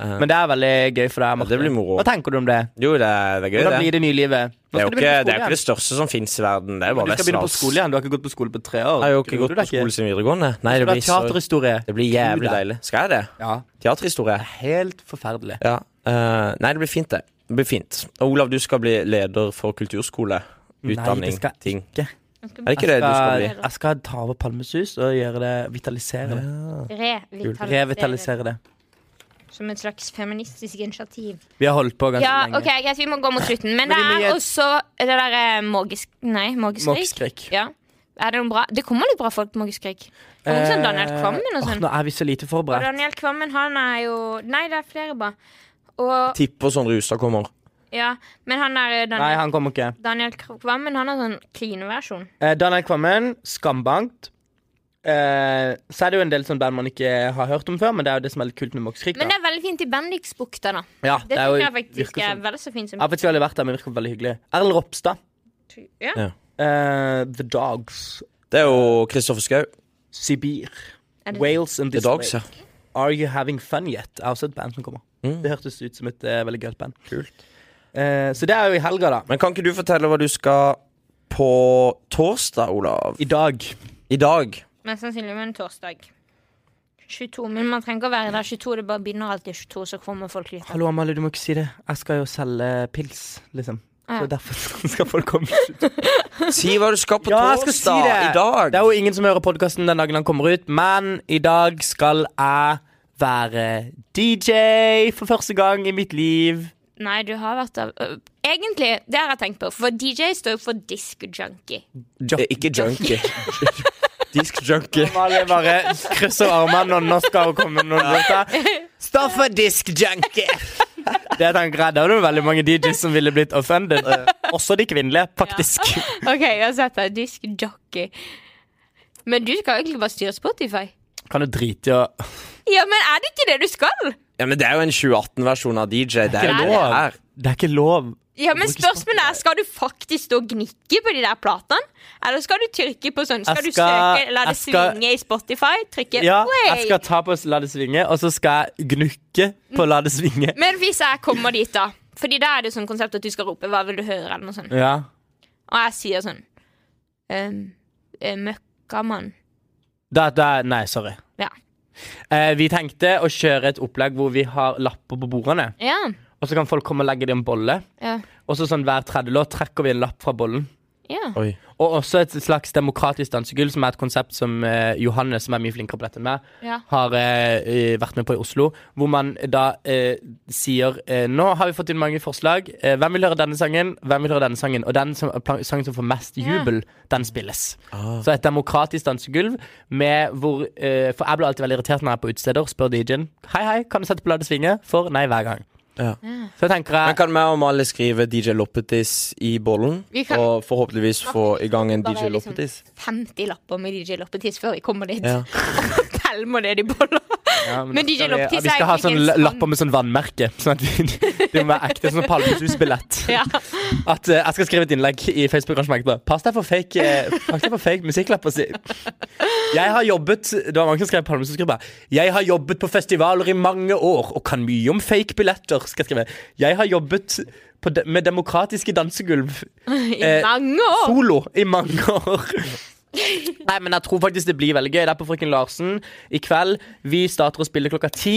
[SPEAKER 2] Men det er veldig gøy for deg. Martin.
[SPEAKER 3] Eh. det blir moro.
[SPEAKER 2] Hva tenker du om det?
[SPEAKER 3] Jo, det er, det er gøy,
[SPEAKER 2] Hvordan
[SPEAKER 3] det.
[SPEAKER 2] blir det nye livet? Nå
[SPEAKER 3] Det er
[SPEAKER 2] skal du
[SPEAKER 3] jo ikke
[SPEAKER 2] begynne på
[SPEAKER 3] det, er
[SPEAKER 2] skole
[SPEAKER 3] ikke det største som fins i verden. Det er
[SPEAKER 2] igjen.
[SPEAKER 3] bare
[SPEAKER 2] Du skal begynne på skole
[SPEAKER 3] Vestlands.
[SPEAKER 2] igjen. Du har ikke gått på skole på tre år.
[SPEAKER 3] Jeg har jo ikke
[SPEAKER 2] Gjorde
[SPEAKER 3] gått
[SPEAKER 2] du
[SPEAKER 3] på
[SPEAKER 2] det ikke?
[SPEAKER 3] skole siden videregående. Nei,
[SPEAKER 2] Du
[SPEAKER 3] det
[SPEAKER 2] har
[SPEAKER 3] blir, så,
[SPEAKER 2] teaterhistorie.
[SPEAKER 3] det blir jævlig deilig. Skal jeg det?
[SPEAKER 2] Ja.
[SPEAKER 3] Teaterhistorie?
[SPEAKER 2] Helt forferdelig.
[SPEAKER 3] Ja. eh, nei, det blir fint, det. Det blir fint. Og Olav, du skal bli leder for kulturskole. Utdanning.
[SPEAKER 2] Nei, det skal jeg
[SPEAKER 3] ting.
[SPEAKER 2] ikke.
[SPEAKER 3] Er det ikke det du skal bli?
[SPEAKER 2] Jeg, jeg skal ta over Palmesus og gjøre det vitalisere det.
[SPEAKER 1] Revitalisere.
[SPEAKER 2] Revitalisere det.
[SPEAKER 1] Som et slags feministisk initiativ.
[SPEAKER 2] Vi har holdt på ganske
[SPEAKER 1] Ja,
[SPEAKER 2] lenge.
[SPEAKER 1] ok, greit, vi må gå mot slutten. Men,
[SPEAKER 2] Men vi må
[SPEAKER 1] det
[SPEAKER 2] gi
[SPEAKER 1] er
[SPEAKER 2] et-
[SPEAKER 1] også det derre magisk... Nei, magiskrik.
[SPEAKER 2] Måkeskrik.
[SPEAKER 1] Ja. Er det noe bra? Det kommer litt bra folk på magiskrik. Noen sånn Daniel Kvammen og
[SPEAKER 2] Eh, Åh,
[SPEAKER 1] sånn.
[SPEAKER 2] Nå er vi så lite
[SPEAKER 1] Og
[SPEAKER 2] forberedt.
[SPEAKER 1] Daniel Kvammen, han er jo Nei, det er flere bra. Og
[SPEAKER 3] Tipper sånn Rustad kommer.
[SPEAKER 1] Ja, men han er eh,
[SPEAKER 2] Nei,
[SPEAKER 1] Daniel,
[SPEAKER 2] han kommer ikke.
[SPEAKER 1] Daniel Kvam, men han har sånn clean versjon.
[SPEAKER 2] Eh, Daniel Kvammen, skambankt. Eh, så er det jo en del sånn band man ikke har hørt om før, men det er jo det som er litt kult med Mox Krik. da.
[SPEAKER 1] Men det er veldig fint i Bendiksbukta, da.
[SPEAKER 2] ja,
[SPEAKER 1] Det, det
[SPEAKER 2] jo-
[SPEAKER 1] jeg faktisk
[SPEAKER 2] virker
[SPEAKER 1] er
[SPEAKER 2] som-
[SPEAKER 1] vel så fint som
[SPEAKER 2] Jeg har faktisk aldri vært der, men virker veldig hyggelig. Erlend Ropstad.
[SPEAKER 1] ja.
[SPEAKER 2] eh, The Dogs.
[SPEAKER 3] Det er jo Kristoffer Schau.
[SPEAKER 2] Sibir.
[SPEAKER 1] Er det-
[SPEAKER 2] Wales and
[SPEAKER 3] The
[SPEAKER 2] This
[SPEAKER 3] Dogs,
[SPEAKER 2] Way.
[SPEAKER 3] ja.
[SPEAKER 2] Are You Having Fun Yet? Er også et band som kommer.
[SPEAKER 3] Mm.
[SPEAKER 2] Det hørtes ut som et eh, veldig gøyalt band. Eh, så det er jo i helga, da.
[SPEAKER 3] Men kan ikke du fortelle hva du skal på torsdag, Olav?
[SPEAKER 2] I dag.
[SPEAKER 3] I dag.
[SPEAKER 1] Mest sannsynlig med en torsdag. 22, Men man trenger ikke å være der 22, det bare begynner alltid 22, så kommer folk litt.
[SPEAKER 2] Hallo, Amalie, du må ikke si det. Jeg skal jo selge pils, liksom.
[SPEAKER 1] Ah, ja.
[SPEAKER 2] Så derfor [LAUGHS] skal folk komme.
[SPEAKER 3] Si hva du skal på
[SPEAKER 2] Ja, jeg skal
[SPEAKER 3] torsdag.
[SPEAKER 2] si det.
[SPEAKER 3] I dag.
[SPEAKER 2] Det er jo ingen som hører podkasten den dagen han kommer ut, men i dag skal jeg være DJ for første gang i mitt liv.
[SPEAKER 1] Nei, du har vært der øh, Egentlig, det har jeg tenkt på, for DJ står jo for disk junkie.
[SPEAKER 3] Eh,
[SPEAKER 2] [LAUGHS]
[SPEAKER 3] Ikke junkie. Disk junkie.
[SPEAKER 2] Amalie bare krysser armene, og nå skal hun komme med noen låter. Stå for disk junkie! Det tenker jeg, Det var det veldig mange DJs som ville blitt offended. Også de kvinnelige, faktisk.
[SPEAKER 1] [LAUGHS] OK, jeg har sett deg. Disk jockey. Men du skal egentlig bare styre Spotify.
[SPEAKER 2] Kan du drite i å
[SPEAKER 1] Ja, men er det ikke det du skal?
[SPEAKER 3] Ja, men det er jo en 2018-versjon av DJ. Det er jo
[SPEAKER 1] det
[SPEAKER 3] det her.
[SPEAKER 2] Det er ikke lov.
[SPEAKER 1] Ja, men spørsmålet er, Skal du faktisk stå og gnikke på de der platene? Eller skal du tyrke på sånn Skal,
[SPEAKER 2] Jeg
[SPEAKER 1] du
[SPEAKER 2] skal-
[SPEAKER 1] søke, la det
[SPEAKER 2] jeg skal-
[SPEAKER 1] svinge i Spotify? Trykke
[SPEAKER 2] Ja, jeg
[SPEAKER 1] play?
[SPEAKER 2] skal ta på La det svinge, og så skal jeg gnukke på La det svinge.
[SPEAKER 1] Men hvis jeg kommer dit, da Fordi da er det sånn konsept at du skal rope 'hva vil du høre?' eller noe sånt.
[SPEAKER 2] Ja.
[SPEAKER 1] Og jeg sier sånn ehm, eh, Møkkamann.
[SPEAKER 2] Da, da, nei, sorry.
[SPEAKER 1] Ja.
[SPEAKER 2] Eh, vi tenkte å kjøre et opplegg hvor vi har lapper på bordene.
[SPEAKER 1] Ja.
[SPEAKER 2] Og så kan folk komme og legge det i en bolle.
[SPEAKER 1] ja.
[SPEAKER 2] Og så sånn hver tredje låt trekker vi en lapp fra bollen.
[SPEAKER 1] ja.
[SPEAKER 2] Og også et slags demokratisk dansegulv, som er et konsept som eh, Johannes, som er mye flinkere på dette enn meg,
[SPEAKER 1] Ja.
[SPEAKER 2] har eh, eh, vært med på i Oslo. Hvor man da eh, sier eh, Nå har vi fått inn mange forslag. Eh, hvem vil høre denne sangen? Hvem vil høre denne sangen? Og den som, plan- sangen som får mest jubel, den spilles. Så et demokratisk dansegulv med hvor eh, For jeg blir alltid veldig irritert når jeg er på utesteder. Spør DJ-en Hei, hei, kan du sette på La det svinge? For nei hver gang.
[SPEAKER 3] Ja.
[SPEAKER 2] Så tenker
[SPEAKER 3] Men
[SPEAKER 2] jeg
[SPEAKER 3] Mm. kan vi og Mali skrive DJ Loppetis i bollen?
[SPEAKER 1] Vi kan-
[SPEAKER 3] Og forhåpentligvis få i gang en
[SPEAKER 1] Bare
[SPEAKER 3] DJ
[SPEAKER 1] liksom-
[SPEAKER 3] Loppetis?
[SPEAKER 1] 50 lapper med DJ Loppetiss før vi kommer dit.
[SPEAKER 3] Ja.
[SPEAKER 1] Og [LAUGHS] tell må det de boller.
[SPEAKER 2] Ja,
[SPEAKER 1] Men
[SPEAKER 2] da
[SPEAKER 1] DJ
[SPEAKER 2] skal vi-
[SPEAKER 1] Loptis
[SPEAKER 2] Vi
[SPEAKER 1] er
[SPEAKER 2] skal ha
[SPEAKER 1] egentlig
[SPEAKER 2] sånn
[SPEAKER 1] en
[SPEAKER 2] la-
[SPEAKER 1] sånn-
[SPEAKER 2] lapper med sånn vannmerke. Sånn at vi, Det må være ekte sånn Palmesus-billett.
[SPEAKER 1] [LAUGHS] Ja.
[SPEAKER 2] At eh, Jeg skal skrive et innlegg i Facebook-arrangementet. bare, Pass deg for fake, eh, pass deg for fake musikklapper. Si. Jeg har jobbet Det var mange som skrev Palmesus-gruppa. Jeg har jobbet på festivaler i mange år og kan mye om fake billetter. Skal jeg skrive. Jeg har jobbet på de med demokratiske dansegulv
[SPEAKER 1] [LAUGHS] I
[SPEAKER 2] Eh,
[SPEAKER 1] mange år.
[SPEAKER 2] solo i mange år. [LAUGHS] Nei, men jeg tror faktisk det blir veldig gøy. Det er på Frøken Larsen i kveld. Vi starter å spille klokka ti.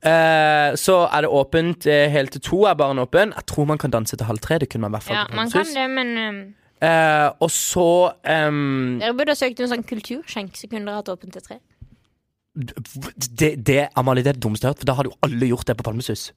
[SPEAKER 2] Eh, så er det åpent eh, helt til to. er baren åpen Jeg tror man kan danse til halv tre. Det kunne man i hvert fall
[SPEAKER 1] Ja,
[SPEAKER 2] på
[SPEAKER 1] man kan
[SPEAKER 2] Konsensus.
[SPEAKER 1] det, men um,
[SPEAKER 2] Eh, Og så ehm,
[SPEAKER 1] dere burde ha søkt en sånn kulturskjenk, så kunne dere hatt åpent til tre.
[SPEAKER 2] det, det, Amalie, det er det dummeste jeg har hørt, for da hadde jo alle gjort det på Palmesus.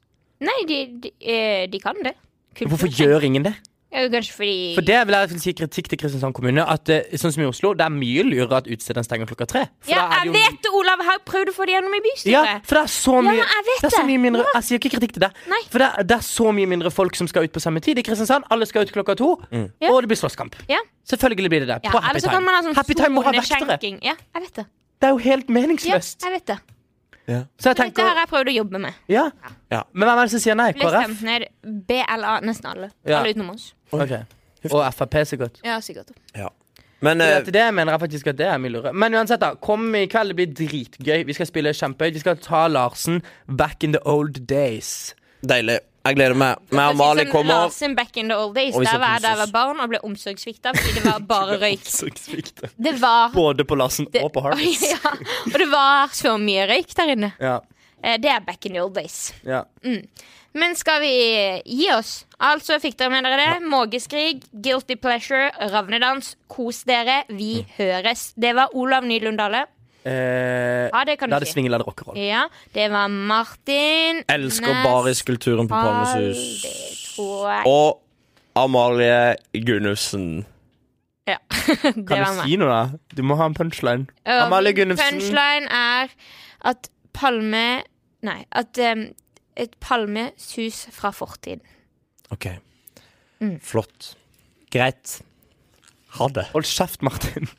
[SPEAKER 1] Nei, de, de, eh, de kan det. [LAUGHS]
[SPEAKER 2] Hvorfor gjør ingen det?
[SPEAKER 1] Ja, Kanskje fordi
[SPEAKER 2] For det vil jeg si kritikk til Kristiansand kommune. At eh, sånn som i Oslo, det er mye lurere at utestedene stenger klokka tre. For
[SPEAKER 1] Ja,
[SPEAKER 2] da er
[SPEAKER 1] jeg
[SPEAKER 2] det jo
[SPEAKER 1] vet det, Olav! Jeg har prøvd å få det gjennom i
[SPEAKER 2] Ja,
[SPEAKER 1] bystyret.
[SPEAKER 2] for det er så mye
[SPEAKER 1] men jeg vet
[SPEAKER 2] det er så
[SPEAKER 1] det.
[SPEAKER 2] mye mindre altså, Jeg sier ikke kritikk til deg.
[SPEAKER 1] Nei.
[SPEAKER 2] For det er, det er så mye mindre folk som skal ut på samme tid i Kristiansand. Alle skal ut klokka to, og det blir slåsskamp.
[SPEAKER 1] Ja.
[SPEAKER 2] Selvfølgelig blir det det.
[SPEAKER 1] Ja,
[SPEAKER 2] på
[SPEAKER 1] eller
[SPEAKER 2] happy
[SPEAKER 1] så kan
[SPEAKER 2] time.
[SPEAKER 1] man ha sånn
[SPEAKER 2] happy time må ha vektere.
[SPEAKER 1] soneskjenking. Ja, jeg vet det.
[SPEAKER 2] Det er jo helt
[SPEAKER 1] Ja,
[SPEAKER 2] meningsløst.
[SPEAKER 1] jeg vet det.
[SPEAKER 2] Så jeg
[SPEAKER 1] Dette
[SPEAKER 2] tenker
[SPEAKER 1] har jeg prøvd å jobbe med. sånn
[SPEAKER 2] ja.
[SPEAKER 3] Ja.
[SPEAKER 2] Men hvem er det som sier nei?
[SPEAKER 1] Ble
[SPEAKER 2] KrF?
[SPEAKER 1] stemt ned BLA, nesten alle.
[SPEAKER 2] Ja.
[SPEAKER 1] Alle utenom oss.
[SPEAKER 2] Ok. Og Frp, sikkert.
[SPEAKER 1] Ja, sikkert.
[SPEAKER 3] Men
[SPEAKER 2] Så
[SPEAKER 3] eh,
[SPEAKER 2] det- Det mener jeg faktisk at det er mye lurere. Men uansett, da. Kom i kveld. Det blir dritgøy. Vi skal spille kjempehøyt. Vi skal ta Larsen back in the old days.
[SPEAKER 3] deilig. Jeg gleder meg. Vi og
[SPEAKER 1] Sånn
[SPEAKER 3] Mali
[SPEAKER 1] som
[SPEAKER 3] kommer.
[SPEAKER 1] Larsen back in the old days.
[SPEAKER 3] Og vi
[SPEAKER 1] Der
[SPEAKER 3] skal
[SPEAKER 1] var jeg da jeg var
[SPEAKER 3] kose
[SPEAKER 1] barn og ble omsorgssvikta fordi det var
[SPEAKER 2] [LAUGHS]
[SPEAKER 1] bare røyk.
[SPEAKER 2] Omsorgssvikt.
[SPEAKER 1] Det var
[SPEAKER 2] Både på Larsen
[SPEAKER 1] det,
[SPEAKER 2] og på Harvey.
[SPEAKER 1] [LAUGHS] ja, Og det var så mye røyk der inne.
[SPEAKER 2] Ja.
[SPEAKER 1] Eh, Det er back in the old days.
[SPEAKER 2] ja.
[SPEAKER 1] Men skal vi gi oss? Altså fikk dere med dere det. Mågeskrig, guilty pleasure, ravnedans. Kos dere. Vi
[SPEAKER 2] Mm.
[SPEAKER 1] høres. Det var Olav Nylund Dale.
[SPEAKER 2] Eh,
[SPEAKER 1] Ja, det kan du
[SPEAKER 2] La det
[SPEAKER 1] si.
[SPEAKER 2] svinge, la det rockeroll.
[SPEAKER 1] Ja, det var Martin.
[SPEAKER 3] Elsker bariskulturen på Palmesus.
[SPEAKER 1] Det tror jeg.
[SPEAKER 3] Og Amalie Gunnufsen.
[SPEAKER 1] Ja. [LAUGHS] det
[SPEAKER 2] Kan
[SPEAKER 1] var
[SPEAKER 2] du
[SPEAKER 1] meg.
[SPEAKER 2] si noe, da? Du må ha en punchline.
[SPEAKER 1] Og
[SPEAKER 2] Amalie
[SPEAKER 1] min
[SPEAKER 2] Gunnufsen.
[SPEAKER 1] Punchline er at Palme Nei, at um, et palmesus fra fortiden.
[SPEAKER 3] OK.
[SPEAKER 1] Mm.
[SPEAKER 3] Flott. Greit. Ha det.
[SPEAKER 2] Hold kjeft, Martin.